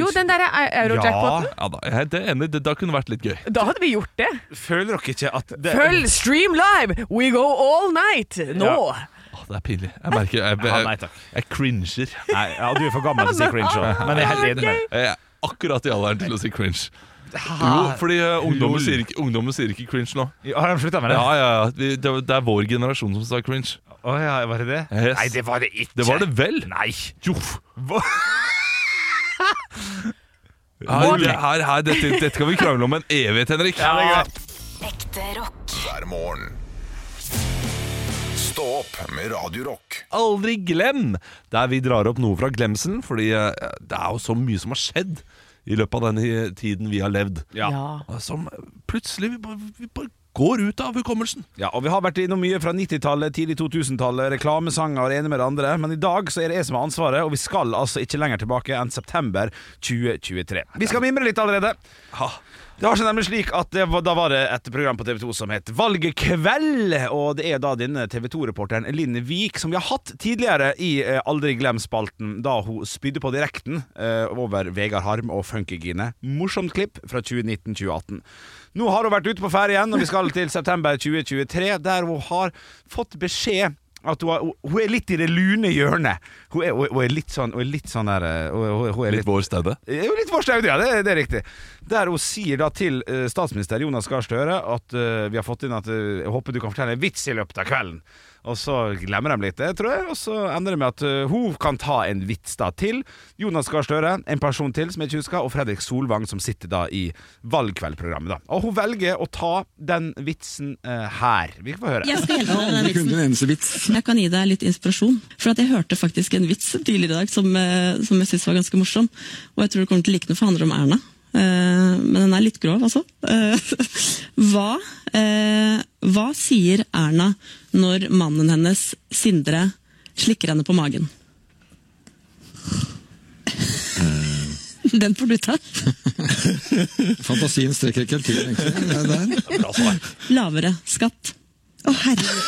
Speaker 5: Jo, den derre euro-jackpoten.
Speaker 3: Ja, da, jeg er helt enig. Det, da kunne det vært litt gøy.
Speaker 5: Da hadde vi gjort det.
Speaker 4: Føler dere ikke at det,
Speaker 5: Følg Stream Live! We go all night nå!
Speaker 3: Å, det er pinlig. Jeg merker Jeg, jeg,
Speaker 4: Ja, nei,
Speaker 3: jeg,
Speaker 4: takk.
Speaker 3: cringer.
Speaker 4: Nei, ja, du er for gammel til å si cringe. også. Men jeg er helt enig med deg.
Speaker 3: Jeg er akkurat i alderen til å si cringe.
Speaker 4: Ah.
Speaker 3: Jo, fordi eh, ungdommen, sier ikke, ungdommen sier ikke cringe nå.
Speaker 4: Ja, Har de slutta med det?
Speaker 3: Ja, ja, ja. Vi, det, det er vår generasjon som sa cringe.
Speaker 4: Å ja, var det det?
Speaker 3: Yes.
Speaker 4: Nei, det var det ikke.
Speaker 3: Det var det vel?
Speaker 4: Nei.
Speaker 3: Joff.
Speaker 4: Hva?
Speaker 3: Her, her, her, dette, dette kan vi krangle om en evighet, Henrik.
Speaker 7: Ekte rock.
Speaker 2: hver morgen. Stå opp med Radio Rock.
Speaker 3: Aldri glem! Der vi drar opp noe fra glemselen, fordi eh, det er jo så mye som har skjedd i løpet av denne tiden vi har levd.
Speaker 4: Ja.
Speaker 3: Og Som plutselig vi bare, vi bare går ut av hukommelsen.
Speaker 4: Ja, og Vi har vært innom mye fra 90-tallet, tidlig 2000-tallet, reklamesanger og det ene med det andre, men i dag så er det jeg som har ansvaret, og vi skal altså ikke lenger tilbake enn september 2023. Vi skal mimre litt allerede. Det var seg nemlig slik at det var, Da var det et program på TV 2 som het Valget kveld. Og det er da denne TV 2-reporteren Linn Vik, som vi har hatt tidligere i eh, Aldri glem-spalten, da hun spydde på direkten eh, over Vegard Harm og Funkygine. Morsomt klipp fra 2019-2018. Nå har hun vært ute på ferie igjen, og vi skal til september 2023, der hun har fått beskjed at hun, har, hun er litt i det lune hjørnet. Hun er, hun er- hun er litt sånn, hun er litt sånn der eh, hun, hun, hun er
Speaker 3: Litt
Speaker 4: litt
Speaker 3: vår stedet.
Speaker 4: det er jo litt forstaudig, ja. Det, det er riktig. Der hun sier da til eh, statsminister Jonas Gahr Støre at eh, vi har fått inn at eh, jeg håper du kan fortelle en vits i løpet av kvelden. Og så glemmer de litt det, tror jeg. Og så ender det med at eh, hun kan ta en vits da til Jonas Gahr Støre, en person til som jeg ikke husker, og Fredrik Solvang, som sitter da i valgkveldprogrammet. da Og hun velger å ta den vitsen eh, her. Vi får høre.
Speaker 6: Jeg skal hjelpe deg med den vitsen. Jeg kan gi deg litt inspirasjon. For at jeg hørte faktisk en vits tidligere i dag som, eh, som jeg synes var ganske morsom. Og jeg tror du kommer til å like den, for det handler om Erna. Eh, Men den er litt grov, altså. Eh, Hva, eh, hva sier Erna når mannen hennes, Sindre, slikker henne på magen? Den får du ta.
Speaker 8: Fantasien strekker ikke helt til, egentlig. Det er der.
Speaker 6: Lavere skatt. Å, herregud.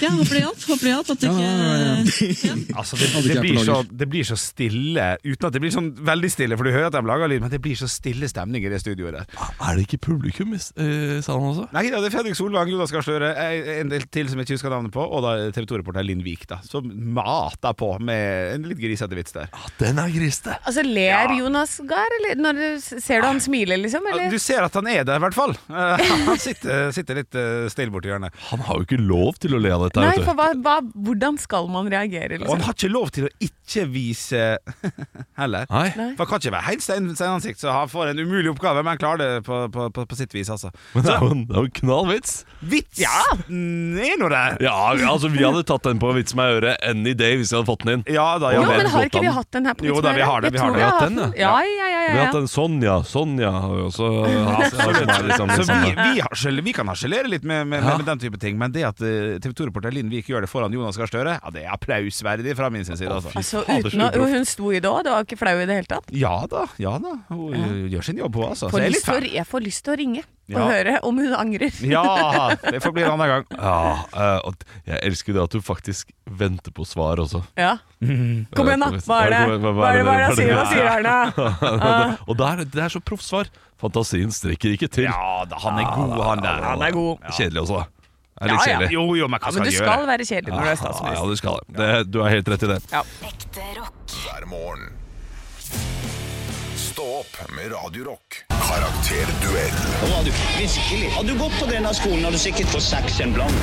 Speaker 6: Ja, håper det hjalp. Håper det hjalp at det ikke ja.
Speaker 4: Altså, det,
Speaker 8: Hadde ikke
Speaker 4: det,
Speaker 8: jeg
Speaker 4: blir
Speaker 8: på
Speaker 4: så,
Speaker 8: lager.
Speaker 4: det blir så stille, uten at det blir sånn veldig stille, for du hører at de lager lyd, men det blir så stille stemning i det studioet der.
Speaker 3: Er det ikke publikum i s- eh, salen også?
Speaker 4: Nei, da, det er Fredrik Solvang, Jonas Gahr Støre, eh, en del til som jeg ikke husker navnet på, og da TV 2-reporter Linn Vik, da, som mater på med en litt grisete vits der.
Speaker 3: Ja, den er griste!
Speaker 5: Altså, ler Jonas Gahr, eller når du ser du han smiler, liksom?
Speaker 4: Ja,
Speaker 5: Eller?
Speaker 4: Du ser at han er der, i hvert fall. Eh, Han sitter, sitter litt eh, stille borti hjørnet.
Speaker 3: Han har jo ikke lov til å le av dette.
Speaker 5: Nei,
Speaker 3: vet du.
Speaker 5: for hva, hva, hvordan skal man reagere,
Speaker 4: Og han
Speaker 5: liksom?
Speaker 4: har ikke lov til å ikke vise heller.
Speaker 3: Nei.
Speaker 5: Nei.
Speaker 4: For han kan ikke være helt stein, steinansikt, så han får en umulig oppgave, men han klarer det på, på, på, på sitt vis, altså.
Speaker 3: Men det er jo en, det er jo en knallvits.
Speaker 4: Vitsen er nå der!
Speaker 3: Ja, altså Vi hadde tatt den på Vits med øret any day hvis vi hadde fått den inn.
Speaker 4: Ja da,
Speaker 5: Ja,
Speaker 4: ja,
Speaker 5: men
Speaker 3: vel,
Speaker 5: har
Speaker 3: godt
Speaker 5: ikke vi
Speaker 3: an.
Speaker 5: hatt den her på
Speaker 4: Jo da, vi har det,
Speaker 5: Vitsmøret?
Speaker 4: vi
Speaker 5: Jeg
Speaker 4: har
Speaker 5: tror
Speaker 4: det.
Speaker 5: vi
Speaker 3: Vi har hatt den,
Speaker 5: har hatt den. Ja, ja, ja.
Speaker 3: Vi
Speaker 5: ja,
Speaker 3: har hatt
Speaker 5: ja.
Speaker 3: en Sonja. Sonja har jo også ja, som er liksom,
Speaker 4: Så
Speaker 3: liksom,
Speaker 4: vi, vi, harsel- vi kan harselere litt med, med, med den type ting, men det at eh, TV 2-reporter Linn Vik gjør det foran Jonas Gahr Støre, ja, det er applausverdig fra min sin side. Altså.
Speaker 5: Altså,
Speaker 3: Fader,
Speaker 5: uten å,
Speaker 3: så
Speaker 5: hun sto i det òg, det var ikke flau i det hele tatt.
Speaker 4: Ja da, ja da. Hun gjør sin jobb, hun, altså. Så
Speaker 5: Får
Speaker 4: jeg Altså, er litt
Speaker 5: lyst til å,
Speaker 4: fan.
Speaker 5: jeg får lyst til å ringe og
Speaker 4: Ja.
Speaker 5: høre om hun angrer.
Speaker 4: Ja, det får bli en annen gang.
Speaker 3: Ja, eh, og jeg elsker det at du faktisk venter på svar også.
Speaker 5: Ja. Kom igjen, da. Hva er det Hva er det hva er det han sier? Hva sier Erna?
Speaker 3: Og det er, det er så proffsvar. Fantasien strekker ikke til.
Speaker 4: Ja da, han er god, han der.
Speaker 5: Han er god.
Speaker 3: Kjedelig også, da. Det er
Speaker 4: Ja,
Speaker 3: litt
Speaker 4: ja.
Speaker 3: kjedelig.
Speaker 4: Jo, jo, men hva
Speaker 5: Ja, men
Speaker 4: skal
Speaker 5: du
Speaker 4: han
Speaker 5: skal
Speaker 4: gjøre?
Speaker 5: være kjedelig når du er
Speaker 3: Ja,
Speaker 5: statsminister.
Speaker 3: det skal det. det. Du har helt rett i det.
Speaker 7: Ekte rock.
Speaker 2: hver morgen. Stå opp med Radio Rock. Karakterduell
Speaker 9: Hadde du gått på denne skolen, hadde du sikkert fått seks en blank.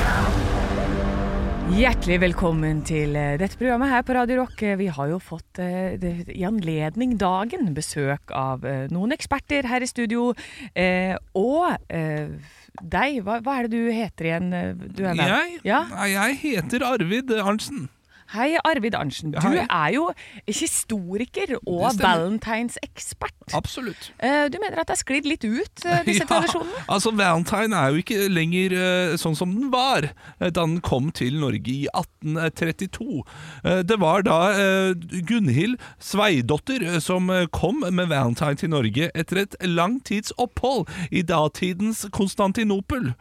Speaker 5: Hjertelig velkommen til eh, dette programmet her på Radio Rock. Eh, Vi har jo fått eh, det- i anledning dagen besøk av eh, noen eksperter her i studio. eh, Og eh, deg, hva, hva er det du heter igjen? eh, Du er med? Ja?
Speaker 3: jeg heter Arvid Arntzen.
Speaker 5: Hei, Arvid Arntzen. Du
Speaker 3: hei.
Speaker 5: er jo historiker og
Speaker 3: stemmer.
Speaker 5: valentinsekspert.
Speaker 3: Absolutt.
Speaker 5: Eh, Du mener at det er sklidd litt ut, eh, disse tradisjonene?
Speaker 3: altså Valentine er jo ikke lenger eh, sånn som den var eh, da den kom til Norge i 1832. Eh, det var da eh, Gunhild Sveidotter eh, som eh, kom med Valentine til Norge etter et lang tids opphold i datidens Konstantinopel.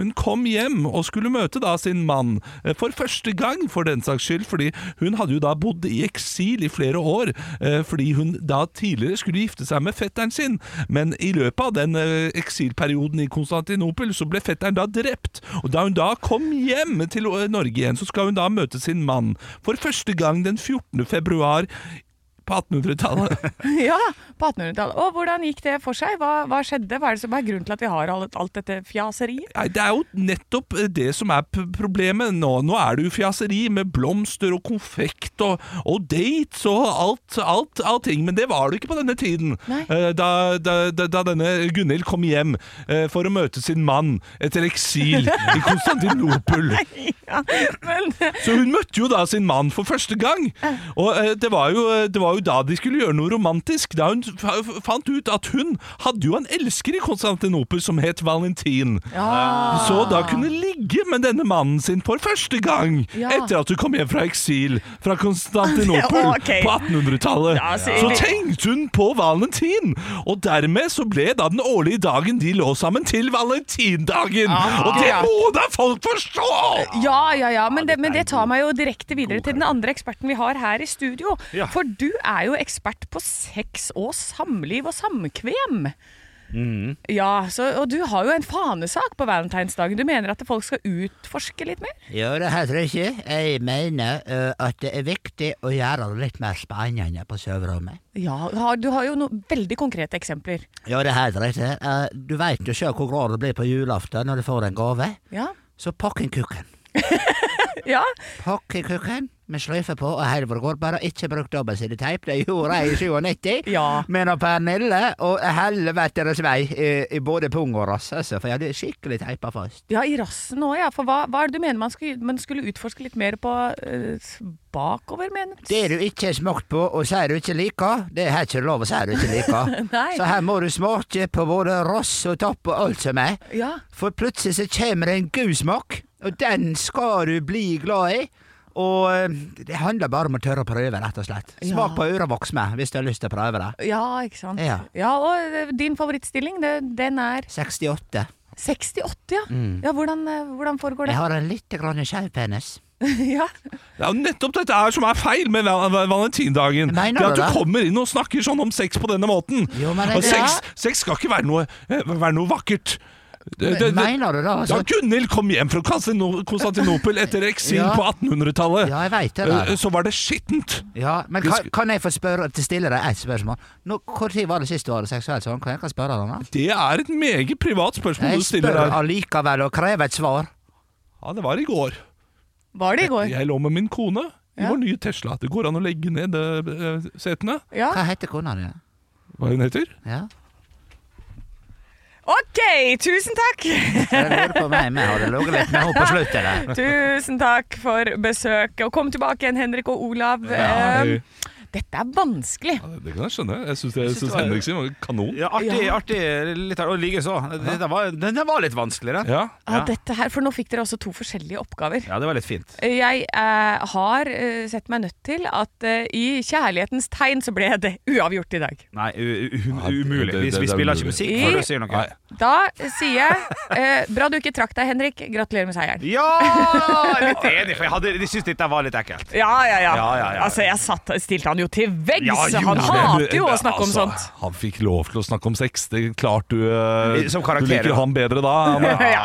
Speaker 3: Hun kom hjem og skulle møte da sin mann eh, for første gang, for den saks skyld, fordi hun hadde jo da bodd i eksil i flere år, eh, fordi hun da tidligere skulle gifte seg med fetteren sin, men i løpet av den eh, eksilperioden i Konstantinopel så ble fetteren da drept, og da hun da kom hjem til eh, Norge igjen, så skal hun da møte sin mann for første gang den 14. februar på 1800-tallet.
Speaker 5: ja, på 1800-tallet. Og hvordan gikk det for seg? Hva, hva skjedde? Hva er det som er grunnen til at vi har alt, alt dette fjaseriet?
Speaker 3: Nei, det er jo nettopp eh, det som er p- problemet nå. Nå er det jo fjaseri med blomster og konfekt og, og dates og alt, alt, allting. Men det var det jo ikke på denne tiden.
Speaker 5: Nei.
Speaker 3: Eh, Da, da, da da denne Gunhild kom hjem eh, for å møte sin mann etter eksil i Konstantinopel.
Speaker 5: Ja, men
Speaker 3: Så hun møtte jo da sin mann for første gang. Og eh, det, var jo, det var jo da de skulle gjøre noe romantisk, da hun fa- fant ut at hun hadde jo en elsker i Konstantinopel som het Valentin.
Speaker 5: Ah.
Speaker 3: Så da kunne ligge med denne mannen sin for første gang
Speaker 5: Ja.
Speaker 3: etter at hun kom hjem fra eksil fra Konstantinopel
Speaker 5: Ja, ok.
Speaker 3: på 1800-tallet.
Speaker 5: Ja, så-
Speaker 3: så tenkte hun på Valentin, og dermed så ble da den årlige dagen de lå sammen, til valentindagen.
Speaker 10: Ah,
Speaker 3: og det
Speaker 5: ja.
Speaker 3: må da folk forstå!
Speaker 5: Ja, ja, ja, men det, men det tar meg jo direkte videre til den andre eksperten vi har her i studio.
Speaker 4: Ja.
Speaker 5: For du er jo ekspert på sex og samliv og samkvem. Ja, så, Og du har jo en fanesak på valentinsdagen. Du mener at folk skal utforske litt mer?
Speaker 10: Ja, det heter det ikke. Jeg mener eh, at det er viktig å gjøre det litt mer spennende på soverommet.
Speaker 5: Ja, har- Du har jo noen veldig konkrete eksempler.
Speaker 10: Ja, det heter det ikke. Eh, du veit jo sjøl hvor glad du blir på julaften når du får en gave.
Speaker 5: Ja,
Speaker 10: Så pakk en kukken.
Speaker 5: ja.
Speaker 10: Pakk en kukken med sløyfe på og helvor bare ikke bruk dobbeltsideteip. Det gjorde jeg i 97.
Speaker 5: Ja.
Speaker 10: Men og Pernille og helvetes vei i, i både pung og rass, altså, for jeg hadde skikkelig teipa fast.
Speaker 5: ja i rassen òg, ja. For hva, hva er det du mener man skulle, man skulle utforske litt mer på eh, bakover, mener du?
Speaker 10: Det du ikke har smakt på og sier du ikke liker, det er ikke lov å si du ikke liker.
Speaker 5: Nei.
Speaker 10: Så her må du smake på både rass og tapp og alt som er.
Speaker 5: Ja.
Speaker 10: For plutselig så kommer det en god smak, og den skal du bli glad i. Og eh, det handler bare om å tørre å prøve, rett og slett.
Speaker 5: Ja.
Speaker 10: Smak på ørevoks med, hvis du har lyst til å prøve det.
Speaker 5: Ja, ikke sant.
Speaker 10: Ja.
Speaker 5: og eh, din favorittstilling, det, den er
Speaker 10: 68.
Speaker 5: 60-80, ja.
Speaker 10: Mm.
Speaker 5: ja hvordan, eh, hvordan foregår det?
Speaker 10: Jeg har en litt grann skjev penis.
Speaker 5: ja.
Speaker 3: Det er jo nettopp dette her som er feil med val- val- valentindagen.
Speaker 10: Mener
Speaker 3: Det at
Speaker 10: du
Speaker 3: du
Speaker 10: det?
Speaker 3: kommer inn og snakker sånn om sex på denne måten.
Speaker 10: Jo, men det-
Speaker 3: og sex, sex skal ikke være noe, eh, være noe vakkert. Det, det, det,
Speaker 10: Mener du det?
Speaker 3: da
Speaker 10: Altså?
Speaker 3: Gunhild kom hjem fra Konstantino- Konstantinopel etter eksil
Speaker 10: Ja.
Speaker 3: på 1800-tallet,
Speaker 10: Ja, jeg veit det. Der.
Speaker 3: eh, så var det skittent.
Speaker 10: Ja, men kan, kan jeg få spørre, stille deg ett spørsmål? Når tid var det sist du hadde seksuelt sånn? Kan jeg kan spørre deg om det?
Speaker 3: Det er et meget privat spørsmål
Speaker 10: Jeg
Speaker 3: du stiller
Speaker 10: spør
Speaker 3: der.
Speaker 10: allikevel og krever et svar.
Speaker 3: Ja, det var i går.
Speaker 5: Var det i går?
Speaker 3: Jeg lå med min kone i
Speaker 5: Ja.
Speaker 3: vår nye Tesla. Det går an å legge ned eh, setene.
Speaker 5: Ja.
Speaker 10: Hva heter kona di?
Speaker 3: Hva hun heter?
Speaker 10: Ja?
Speaker 5: Ok, tusen takk!
Speaker 10: Jeg lurer på meg, vi hadde ligget litt med henne på slutten der.
Speaker 5: Tusen takk for besøket. Og kom tilbake igjen, Henrik og Olav. Eh, Dette er vanskelig.
Speaker 3: Ja, det- det kan jeg skjønne. Jeg syns Henrik sin var kanon.
Speaker 4: Ja, artig, artig litt her, og likeså. Den var, denne var litt vanskeligere.
Speaker 3: Ja.
Speaker 5: Ja.
Speaker 4: Ja.
Speaker 5: dette her, for nå fikk dere også to forskjellige oppgaver.
Speaker 4: Ja, det var litt fint.
Speaker 5: Jeg eh, har eh, sett meg nødt til at eh, i kjærlighetens tegn så ble det uavgjort i dag.
Speaker 4: Nei, u u
Speaker 3: Ja, det-
Speaker 4: umulig. Vi,
Speaker 3: det- det
Speaker 4: vi
Speaker 3: er
Speaker 4: spiller ikke
Speaker 3: umulig.
Speaker 4: musikk
Speaker 5: I-
Speaker 4: før du sier noe.
Speaker 3: Nei.
Speaker 5: Da sier jeg eh, Bra du ikke trakk deg, Henrik. Gratulerer med seieren.
Speaker 4: Ja! Litt enig, for jeg, hadde, jeg syntes dette var litt ekkelt.
Speaker 5: Ja, ja, ja.
Speaker 4: Ja, ja, ja.
Speaker 5: Altså, jeg satt, stilte han jo til veggs.
Speaker 4: Ja, jo,
Speaker 5: han
Speaker 4: ja,
Speaker 5: hater jo å snakke om
Speaker 3: Altså,
Speaker 5: sånt.
Speaker 3: Han fikk lov til å snakke om sex. Det er klart du, eh,
Speaker 4: Som karakter,
Speaker 3: du liker
Speaker 4: da.
Speaker 3: han bedre da. Han,
Speaker 5: Ja.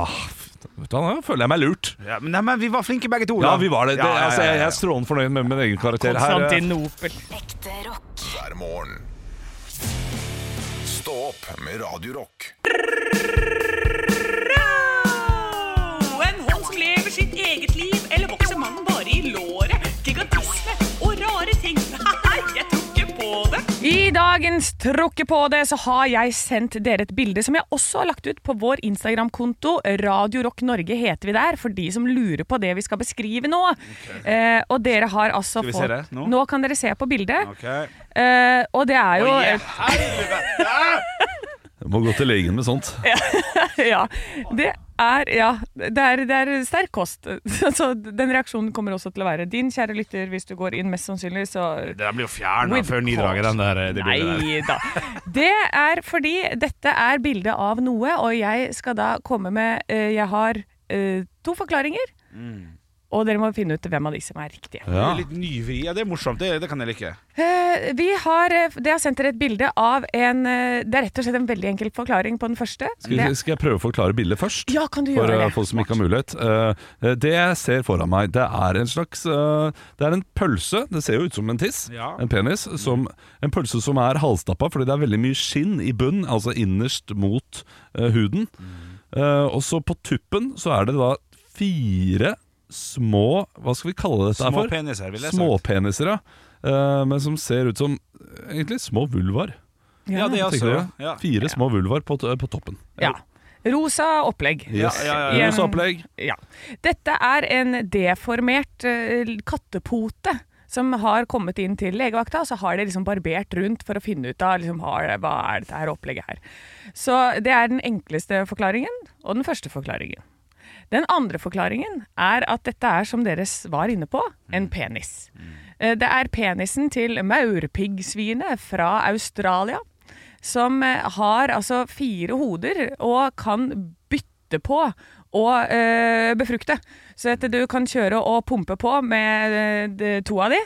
Speaker 3: Ah, vet du, hva, nå føler jeg meg lurt.
Speaker 4: Ja, men, nei, men vi var flinke begge to.
Speaker 3: Ja,
Speaker 4: da.
Speaker 3: vi var det. det
Speaker 4: Ja, ja,
Speaker 3: altså,
Speaker 4: ja,
Speaker 3: jeg, jeg
Speaker 4: ja.
Speaker 3: er strålende fornøyd med min egen karakter her. eh.
Speaker 5: Konstantinopel.
Speaker 7: Ekte rock.
Speaker 2: hver morgen. Stå opp med Radio Rock.
Speaker 11: En hånd lever sitt eget liv, eller vokser mannen bare i låret? Gigantisme og rare ting. Nei, jeg tror ikke på det.
Speaker 5: I dagens Tråkke på det så har jeg sendt dere et bilde som jeg også har lagt ut på vår Instagram-konto. Radio Rock Norge heter vi der, for de som lurer på det vi skal beskrive nå. Eh, og dere har altså
Speaker 4: Skal vi se
Speaker 5: fått
Speaker 4: det nå?
Speaker 5: nå kan dere se på bildet.
Speaker 4: Ok.
Speaker 5: Eh, og det er jo
Speaker 4: Oi,
Speaker 5: et-
Speaker 4: helvete!
Speaker 3: Jeg Må gå til legen med sånt.
Speaker 5: ja, det er, ja, det er, det er sterk kost. Så den reaksjonen kommer også til å være din, kjære lytter, hvis du går inn mest sannsynlig, så
Speaker 4: Den blir jo fjerna
Speaker 5: With
Speaker 4: før nydraget, den der. Det bildet der.
Speaker 5: Nei da. Det er fordi dette er bilde av noe, og jeg skal da komme med eh, Jeg har eh, to forklaringer, og dere må finne ut hvem av de som er riktige.
Speaker 4: Det
Speaker 3: Ja.
Speaker 4: er Litt nyvri. Ja, det er morsomt. Det, det kan jeg like.
Speaker 5: Eh, vi har, eh, det har sendt dere et bilde av en eh, Det er rett og slett en veldig enkel forklaring på den første.
Speaker 3: Skal,
Speaker 5: Det-
Speaker 3: skal jeg prøve å forklare bildet først?
Speaker 5: ja, kan du
Speaker 3: For
Speaker 5: gjøre
Speaker 3: eh,
Speaker 5: det?
Speaker 3: folk som ikke har mulighet. Eh, det jeg ser foran meg, det er en slags eh, Det er en pølse. Det ser jo ut som en tiss.
Speaker 4: Ja.
Speaker 3: En penis. Som, en pølse som er halvstappa fordi det er veldig mye skinn i bunnen, altså innerst mot eh, huden.
Speaker 4: Mm.
Speaker 3: Eh, og så på tuppen så er det da fire små Hva skal vi kalle dette her
Speaker 4: Små
Speaker 3: for?
Speaker 4: peniser, vil jeg sagt.
Speaker 3: Småpeniser, ja. Eh, men som ser ut som eh, egentlig små vulvar.
Speaker 4: Ja, det
Speaker 3: tenker
Speaker 4: er altså.
Speaker 3: dere?
Speaker 4: Ja.
Speaker 3: Fire små vulvar på, t- på toppen.
Speaker 5: Ja. Rosa opplegg.
Speaker 3: Yes.
Speaker 4: Ja, ja, ja,
Speaker 5: ja.
Speaker 3: Rosa opplegg.
Speaker 5: Ja. Dette er en deformert eh, kattepote som har kommet inn til legevakta, og så har de liksom barbert rundt for å finne ut av liksom, har det, hva er dette her opplegget her. Så det er den enkleste forklaringen, og den første forklaringen. Den andre forklaringen er at dette er, som dere s- var inne på, en penis. Eh, Det er penisen til maurpiggsvinet fra Australia, som eh, har altså fire hoder og kan bytte på og eh, befrukte. Så at du kan kjøre og pumpe på med eh, de- to av de,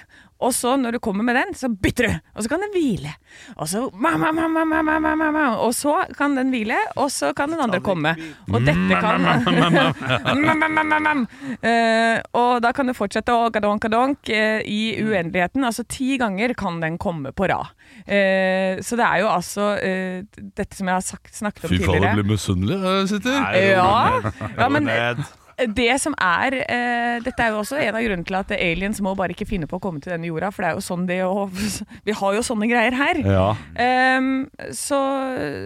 Speaker 5: og så når du kommer med den, så bytter du, og så kan den hvile. Og så, ma, ma, ma, ma, ma, ma, ma, ma, ma. og så kan den hvile, og så kan den andre komme. Og dette kan Mam, mam, mam, mam, mam. Eh, Og da kan du fortsette å gadonk, gadonk eh, i uendeligheten. Altså ti ganger kan den komme på rad. Eh, Så det er jo altså eh, dette som jeg har sagt, snakket om
Speaker 3: Fy faen, jeg
Speaker 5: tidligere.
Speaker 3: blir misunnelig, jeg sitter.
Speaker 4: Nei, ro
Speaker 5: Ja.
Speaker 4: ned.
Speaker 5: Ja,
Speaker 4: Ro
Speaker 5: men-
Speaker 4: ned.
Speaker 5: Det som er eh, Dette er jo også en av grunnene til at aliens må bare ikke finne på å komme til denne jorda, for det er jo sånn det å Vi har jo sånne greier her.
Speaker 3: Ja.
Speaker 5: Ehm, så,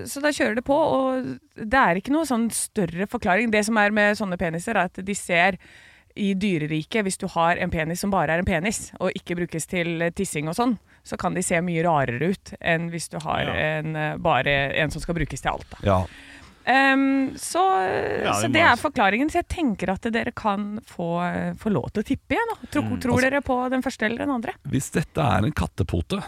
Speaker 5: så da kjører det på, og det er ikke noe sånn større forklaring. Det som er med sånne peniser, er at de ser i dyreriket, hvis du har en penis som bare er en penis, og ikke brukes til eh, tissing og sånn, så kan de se mye rarere ut enn hvis du har
Speaker 4: Ja.
Speaker 5: en, eh, bare en som skal brukes til alt. Da.
Speaker 3: ja.
Speaker 5: Ehm, så,
Speaker 4: Ja,
Speaker 5: så
Speaker 4: vi må
Speaker 5: det er
Speaker 4: altså-
Speaker 5: forklaringen. Så jeg tenker at dere kan få, få lov til å tippe igjen. Da. Tror,
Speaker 4: Mm, altså-
Speaker 5: tror dere på den første eller den andre?
Speaker 4: Mm.
Speaker 3: Hvis dette er en kattepote,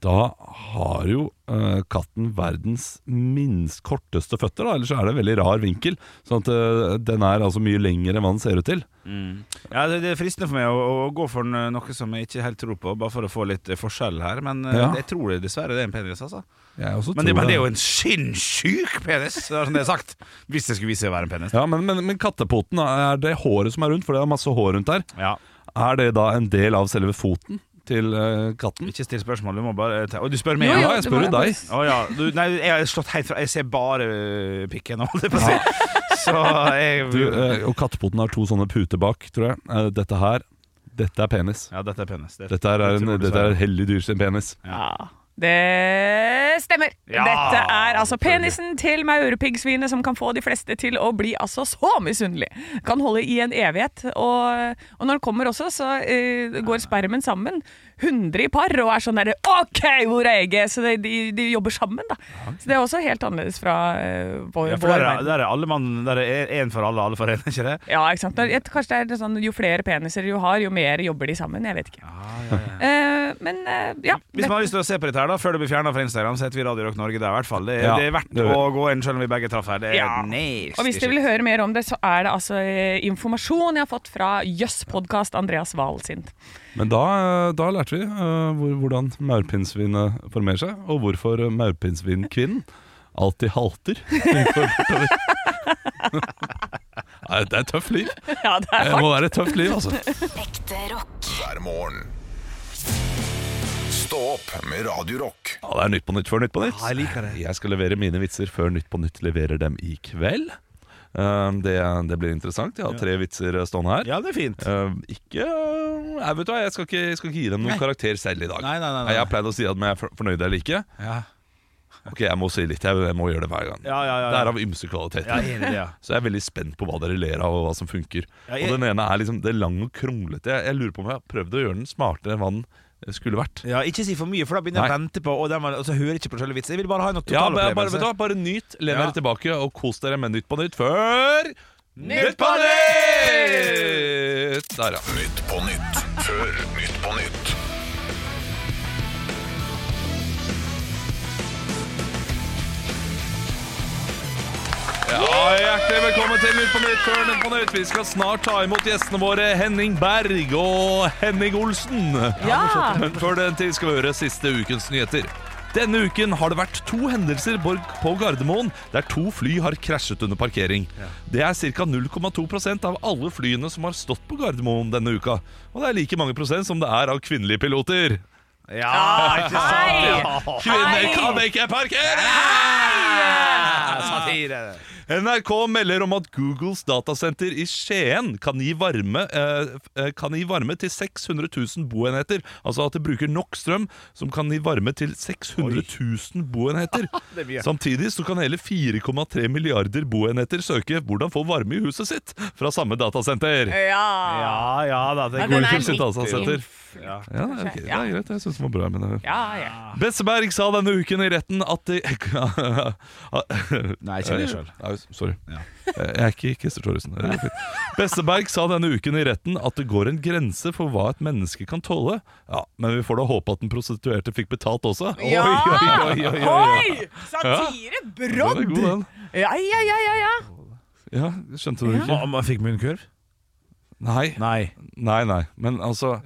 Speaker 3: da har jo eh, katten verdens minst korteste føtter, da, ellers er det en veldig rar vinkel. Sånn at eh, den er altså mye lengre enn hva den ser ut til.
Speaker 4: Ja, det, det er fristende for meg å, å gå for n- noe som jeg ikke helt tror på, bare for å få litt eh, forskjell her. Men eh,
Speaker 3: Ja.
Speaker 4: jeg tror det dessverre det er en penis, altså.
Speaker 3: Jeg også
Speaker 4: Men det,
Speaker 3: tror
Speaker 4: men det er jo en sinnssyk penis, det er som det er sagt. Hvis det skulle vise seg å være en penis.
Speaker 3: Ja, men, men, men kattepoten, er det håret som er rundt? For det er masse hår rundt der.
Speaker 4: Ja.
Speaker 3: Er det da en del av selve foten til eh, katten?
Speaker 4: Ikke still spørsmål, du må bare eh, ta Og du spør meg?
Speaker 3: Jo, jo, Ja, jeg det spør var jo deg.
Speaker 4: Å, ja. du, nei, jeg har slått helt fra Jeg ser bare eh, pikken nå, holdt jeg på å si. Så jeg
Speaker 3: Du, eh, og kattepoten har to sånne puter bak, tror jeg. Eh, dette her, dette er penis.
Speaker 4: Ja, dette er penis. Det-
Speaker 3: Dette er,
Speaker 4: det
Speaker 3: en,
Speaker 4: tror jeg
Speaker 3: dette er
Speaker 4: dessverre.
Speaker 3: et hellig dyr sin penis.
Speaker 5: Det stemmer.
Speaker 3: Ja,
Speaker 5: Dette er altså penisen til maurepiggsvinet som kan få de fleste til å bli altså så misunnelig. Kan holde i en evighet. Og, og når den kommer også, så eh, går spermen sammen. 100 i par og er sånn der OK, hvor er egget? Så de, de, de jobber sammen, da. Så det er også helt annerledes fra eh, vår,
Speaker 4: ja, for
Speaker 5: vår
Speaker 4: der, er,
Speaker 5: verden.
Speaker 4: der er alle mann Der er én for alle, alle for én, ikke det?
Speaker 5: Ja, ikke sant? Jeg- Kanskje det er sånn, Jo flere peniser du har, jo mer jobber de sammen. Jeg vet ikke. Eh, men eh, ja.
Speaker 4: Hvis man har lyst til å se på dette her da før det blir fjerna fra Instagram, så heter vi Radio Rock Norge der, i hvert fall. Det, er-
Speaker 3: Ja,
Speaker 4: det er verdt
Speaker 3: det er det.
Speaker 4: å gå inn, selv om vi begge traff her. Det er
Speaker 5: Ja.
Speaker 4: nasty
Speaker 5: Og hvis dere
Speaker 4: shit.
Speaker 5: vil høre mer om det, så er det altså eh, informasjon jeg har fått fra Jøss podkast Andreas Wahl sin.
Speaker 3: Men da, eh, da lærte vi eh, hvor, hvordan maurpinnsvinet formerer seg, og hvorfor eh, maurpinnsvinkvinnen alltid halter. Nei, det er et tøft liv.
Speaker 5: Ja, det er
Speaker 3: Det må
Speaker 5: hardt.
Speaker 3: være et tøft liv, altså.
Speaker 2: Ekte rock. Hver morgen. Stå opp med Radio Rock.
Speaker 3: Ja, det er Nytt på nytt før Nytt på nytt.
Speaker 4: Ja, jeg liker det.
Speaker 3: Jeg skal levere mine vitser før Nytt på nytt leverer dem i kveld. Um, Det, det blir interessant. Jeg har tre vitser eh, stående her.
Speaker 4: Ja, det er fint.
Speaker 3: Um, Ikke eh, Nei, vet du hva, jeg skal ikke, jeg skal ikke gi dem noen
Speaker 4: Nei.
Speaker 3: karakter selv i dag.
Speaker 4: Nei, nei, nei, nei.
Speaker 3: Jeg har pleid å si at om jeg er for- fornøyd eller ikke.
Speaker 4: Ja.
Speaker 3: Ok, jeg må si litt. Jeg, jeg må gjøre det hver gang.
Speaker 4: Ja, ja, ja, ja.
Speaker 3: Det er av ymse kvaliteter.
Speaker 4: Ja, jeg er enig i det, ja.
Speaker 3: Så jeg er veldig spent på hva dere ler av, og hva som funker.
Speaker 4: Ja, jeg-
Speaker 3: Og den ene er liksom Det er lang og kronglete. Jeg, jeg lurer på om jeg har prøvd å gjøre den smartere enn hva den eh, skulle vært.
Speaker 4: Ja, ikke si for mye, for da begynner jeg å vente på Og, den var, og så hører jeg ikke på selve vitsen. Jeg vil bare ha en
Speaker 3: Ja, bare, bare,
Speaker 4: totalopplevelse.
Speaker 3: vet du hva, bare nyt, len
Speaker 4: Ja.
Speaker 3: dere tilbake og kos dere med Nytt på nytt før
Speaker 4: Nytt
Speaker 2: på
Speaker 3: nytt! Der, ja.
Speaker 2: Nytt på nytt før Nytt på nytt.
Speaker 3: ja. Hjertelig velkommen til Nytt på nytt før Nytt på nytt. Vi skal snart ta imot gjestene våre Henning Berg og Henning Olsen.
Speaker 5: Ja!
Speaker 3: Men før den tid skal vi høre siste ukens nyheter. Denne uken har det vært to hendelser på på Gardermoen der to fly har krasjet under parkering. Det er ca. 0,2 av alle flyene som har stått på Gardermoen denne uka. Og det er like mange prosent som det er av kvinnelige piloter.
Speaker 4: Ja, ikke sant?
Speaker 5: Hei!
Speaker 3: Kvinner
Speaker 5: Hei!
Speaker 3: kan ikke parkere!
Speaker 4: Ja, satire.
Speaker 3: NRK melder om at Googles datasenter i Skien kan gi varme, eh, eh, kan gi varme til 600 000 boenheter. Altså at det bruker nok strøm som kan gi varme til 600 000 boenheter.
Speaker 4: Det er mye.
Speaker 3: Samtidig så kan hele 4,3 milliarder boenheter søke hvordan få varme i huset sitt fra samme datasenter.
Speaker 5: Ja.
Speaker 4: Ja, ja da. Det
Speaker 5: Ja,
Speaker 4: går
Speaker 5: Eh,
Speaker 4: ikke
Speaker 5: den er
Speaker 3: Googles
Speaker 5: litt
Speaker 3: datasenter.
Speaker 4: Ja.
Speaker 3: Ja, ok, det
Speaker 5: Ja.
Speaker 3: er greit. Jeg syns den var bra. Men,
Speaker 5: Ja, ja.
Speaker 3: Besseberg sa denne uken i retten at de
Speaker 4: Nei, ikke det selv.
Speaker 3: Nei, sorry. Jeg er ikke Christer Thoresen. Det går fint. Besseberg sa denne uken i retten at det går en grense for hva et menneske kan tåle. Ja, Men vi får da håpe at den prostituerte fikk betalt også.
Speaker 5: Ja!
Speaker 3: Oi, oi, oi, oi, oi.
Speaker 5: Oi! Satire,
Speaker 3: Den er
Speaker 5: brodd!
Speaker 3: god, den.
Speaker 5: Ja, ja, ja, ja, ja.
Speaker 3: Ja, Skjønte du ikke?
Speaker 4: Om man fikk munnkurv?
Speaker 3: Nei,
Speaker 4: Nei.
Speaker 3: nei. nei Men altså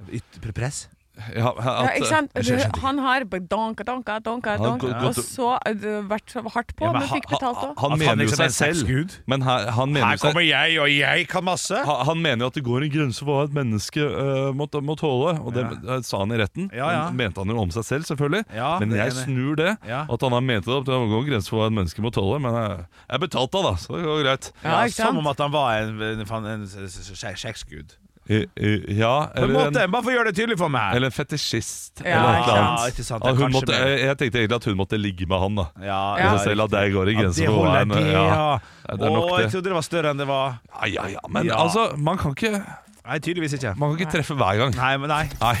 Speaker 4: Press?
Speaker 3: ja,
Speaker 5: ja
Speaker 3: at, eh,
Speaker 5: ikke sant?
Speaker 4: jeg skjønte ikke.
Speaker 5: Han har bare donka, donka, donka,
Speaker 3: Han
Speaker 5: donka,
Speaker 3: går- går-
Speaker 5: og så eh, vært så hardt på,
Speaker 4: Ja, men
Speaker 5: men
Speaker 4: ha-
Speaker 5: fikk betalt òg.
Speaker 3: Han
Speaker 4: At han
Speaker 3: mener jo
Speaker 4: liksom er
Speaker 3: seg selv.
Speaker 4: sexgud?
Speaker 3: Men her, han mener
Speaker 4: Her
Speaker 3: jo seg
Speaker 4: kommer jeg, og jeg kan masse.
Speaker 3: Ha- Han mener jo at det går en grense for hva et menneske eh, må, må tåle, og det eh, sa han i retten.
Speaker 4: Ja, ja.
Speaker 3: Men mente han jo om seg selv, selvfølgelig.
Speaker 4: Ja,
Speaker 3: men
Speaker 4: det er
Speaker 3: jeg
Speaker 4: det.
Speaker 3: snur det.
Speaker 4: Ja.
Speaker 3: At han har ment det opp til å gå en grense for hva et menneske må tåle. Men jeg, jeg betalte, da, så det går greit.
Speaker 5: Ja,
Speaker 4: Ja,
Speaker 5: ikke sant?
Speaker 4: som om at han var en, en, en, en sexgud.
Speaker 3: I, i, ja,
Speaker 4: På en
Speaker 3: eller
Speaker 4: måte,
Speaker 3: en,
Speaker 4: bare for å gjøre det tydelig for meg.
Speaker 3: eller en fetisjist.
Speaker 5: Ja,
Speaker 3: eller et
Speaker 5: ikke
Speaker 3: eller
Speaker 5: sant.
Speaker 3: annet.
Speaker 4: ikke sant,
Speaker 3: Ja,
Speaker 4: det er
Speaker 3: hun
Speaker 4: kanskje
Speaker 3: måtte,
Speaker 4: mer.
Speaker 3: jeg, jeg tenkte egentlig at hun måtte ligge med han, da.
Speaker 4: ja,
Speaker 3: I
Speaker 5: Ja.
Speaker 3: seg selv at det går en
Speaker 4: Ja,
Speaker 3: grense
Speaker 4: det
Speaker 3: for hva
Speaker 4: holder
Speaker 3: en
Speaker 4: det,
Speaker 3: ja.
Speaker 4: ja.
Speaker 3: Ja, det er nok
Speaker 4: Å, jeg
Speaker 3: det.
Speaker 4: trodde det var større enn det var.
Speaker 3: Ja, ja, ja, men
Speaker 4: Ja.
Speaker 3: altså, man kan, ikke,
Speaker 4: Nei, tydeligvis ikke.
Speaker 3: man kan ikke treffe hver gang.
Speaker 4: Nei, men nei.
Speaker 3: Nei.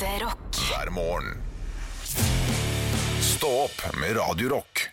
Speaker 2: Hver morgen. Stå opp med Radio Rock.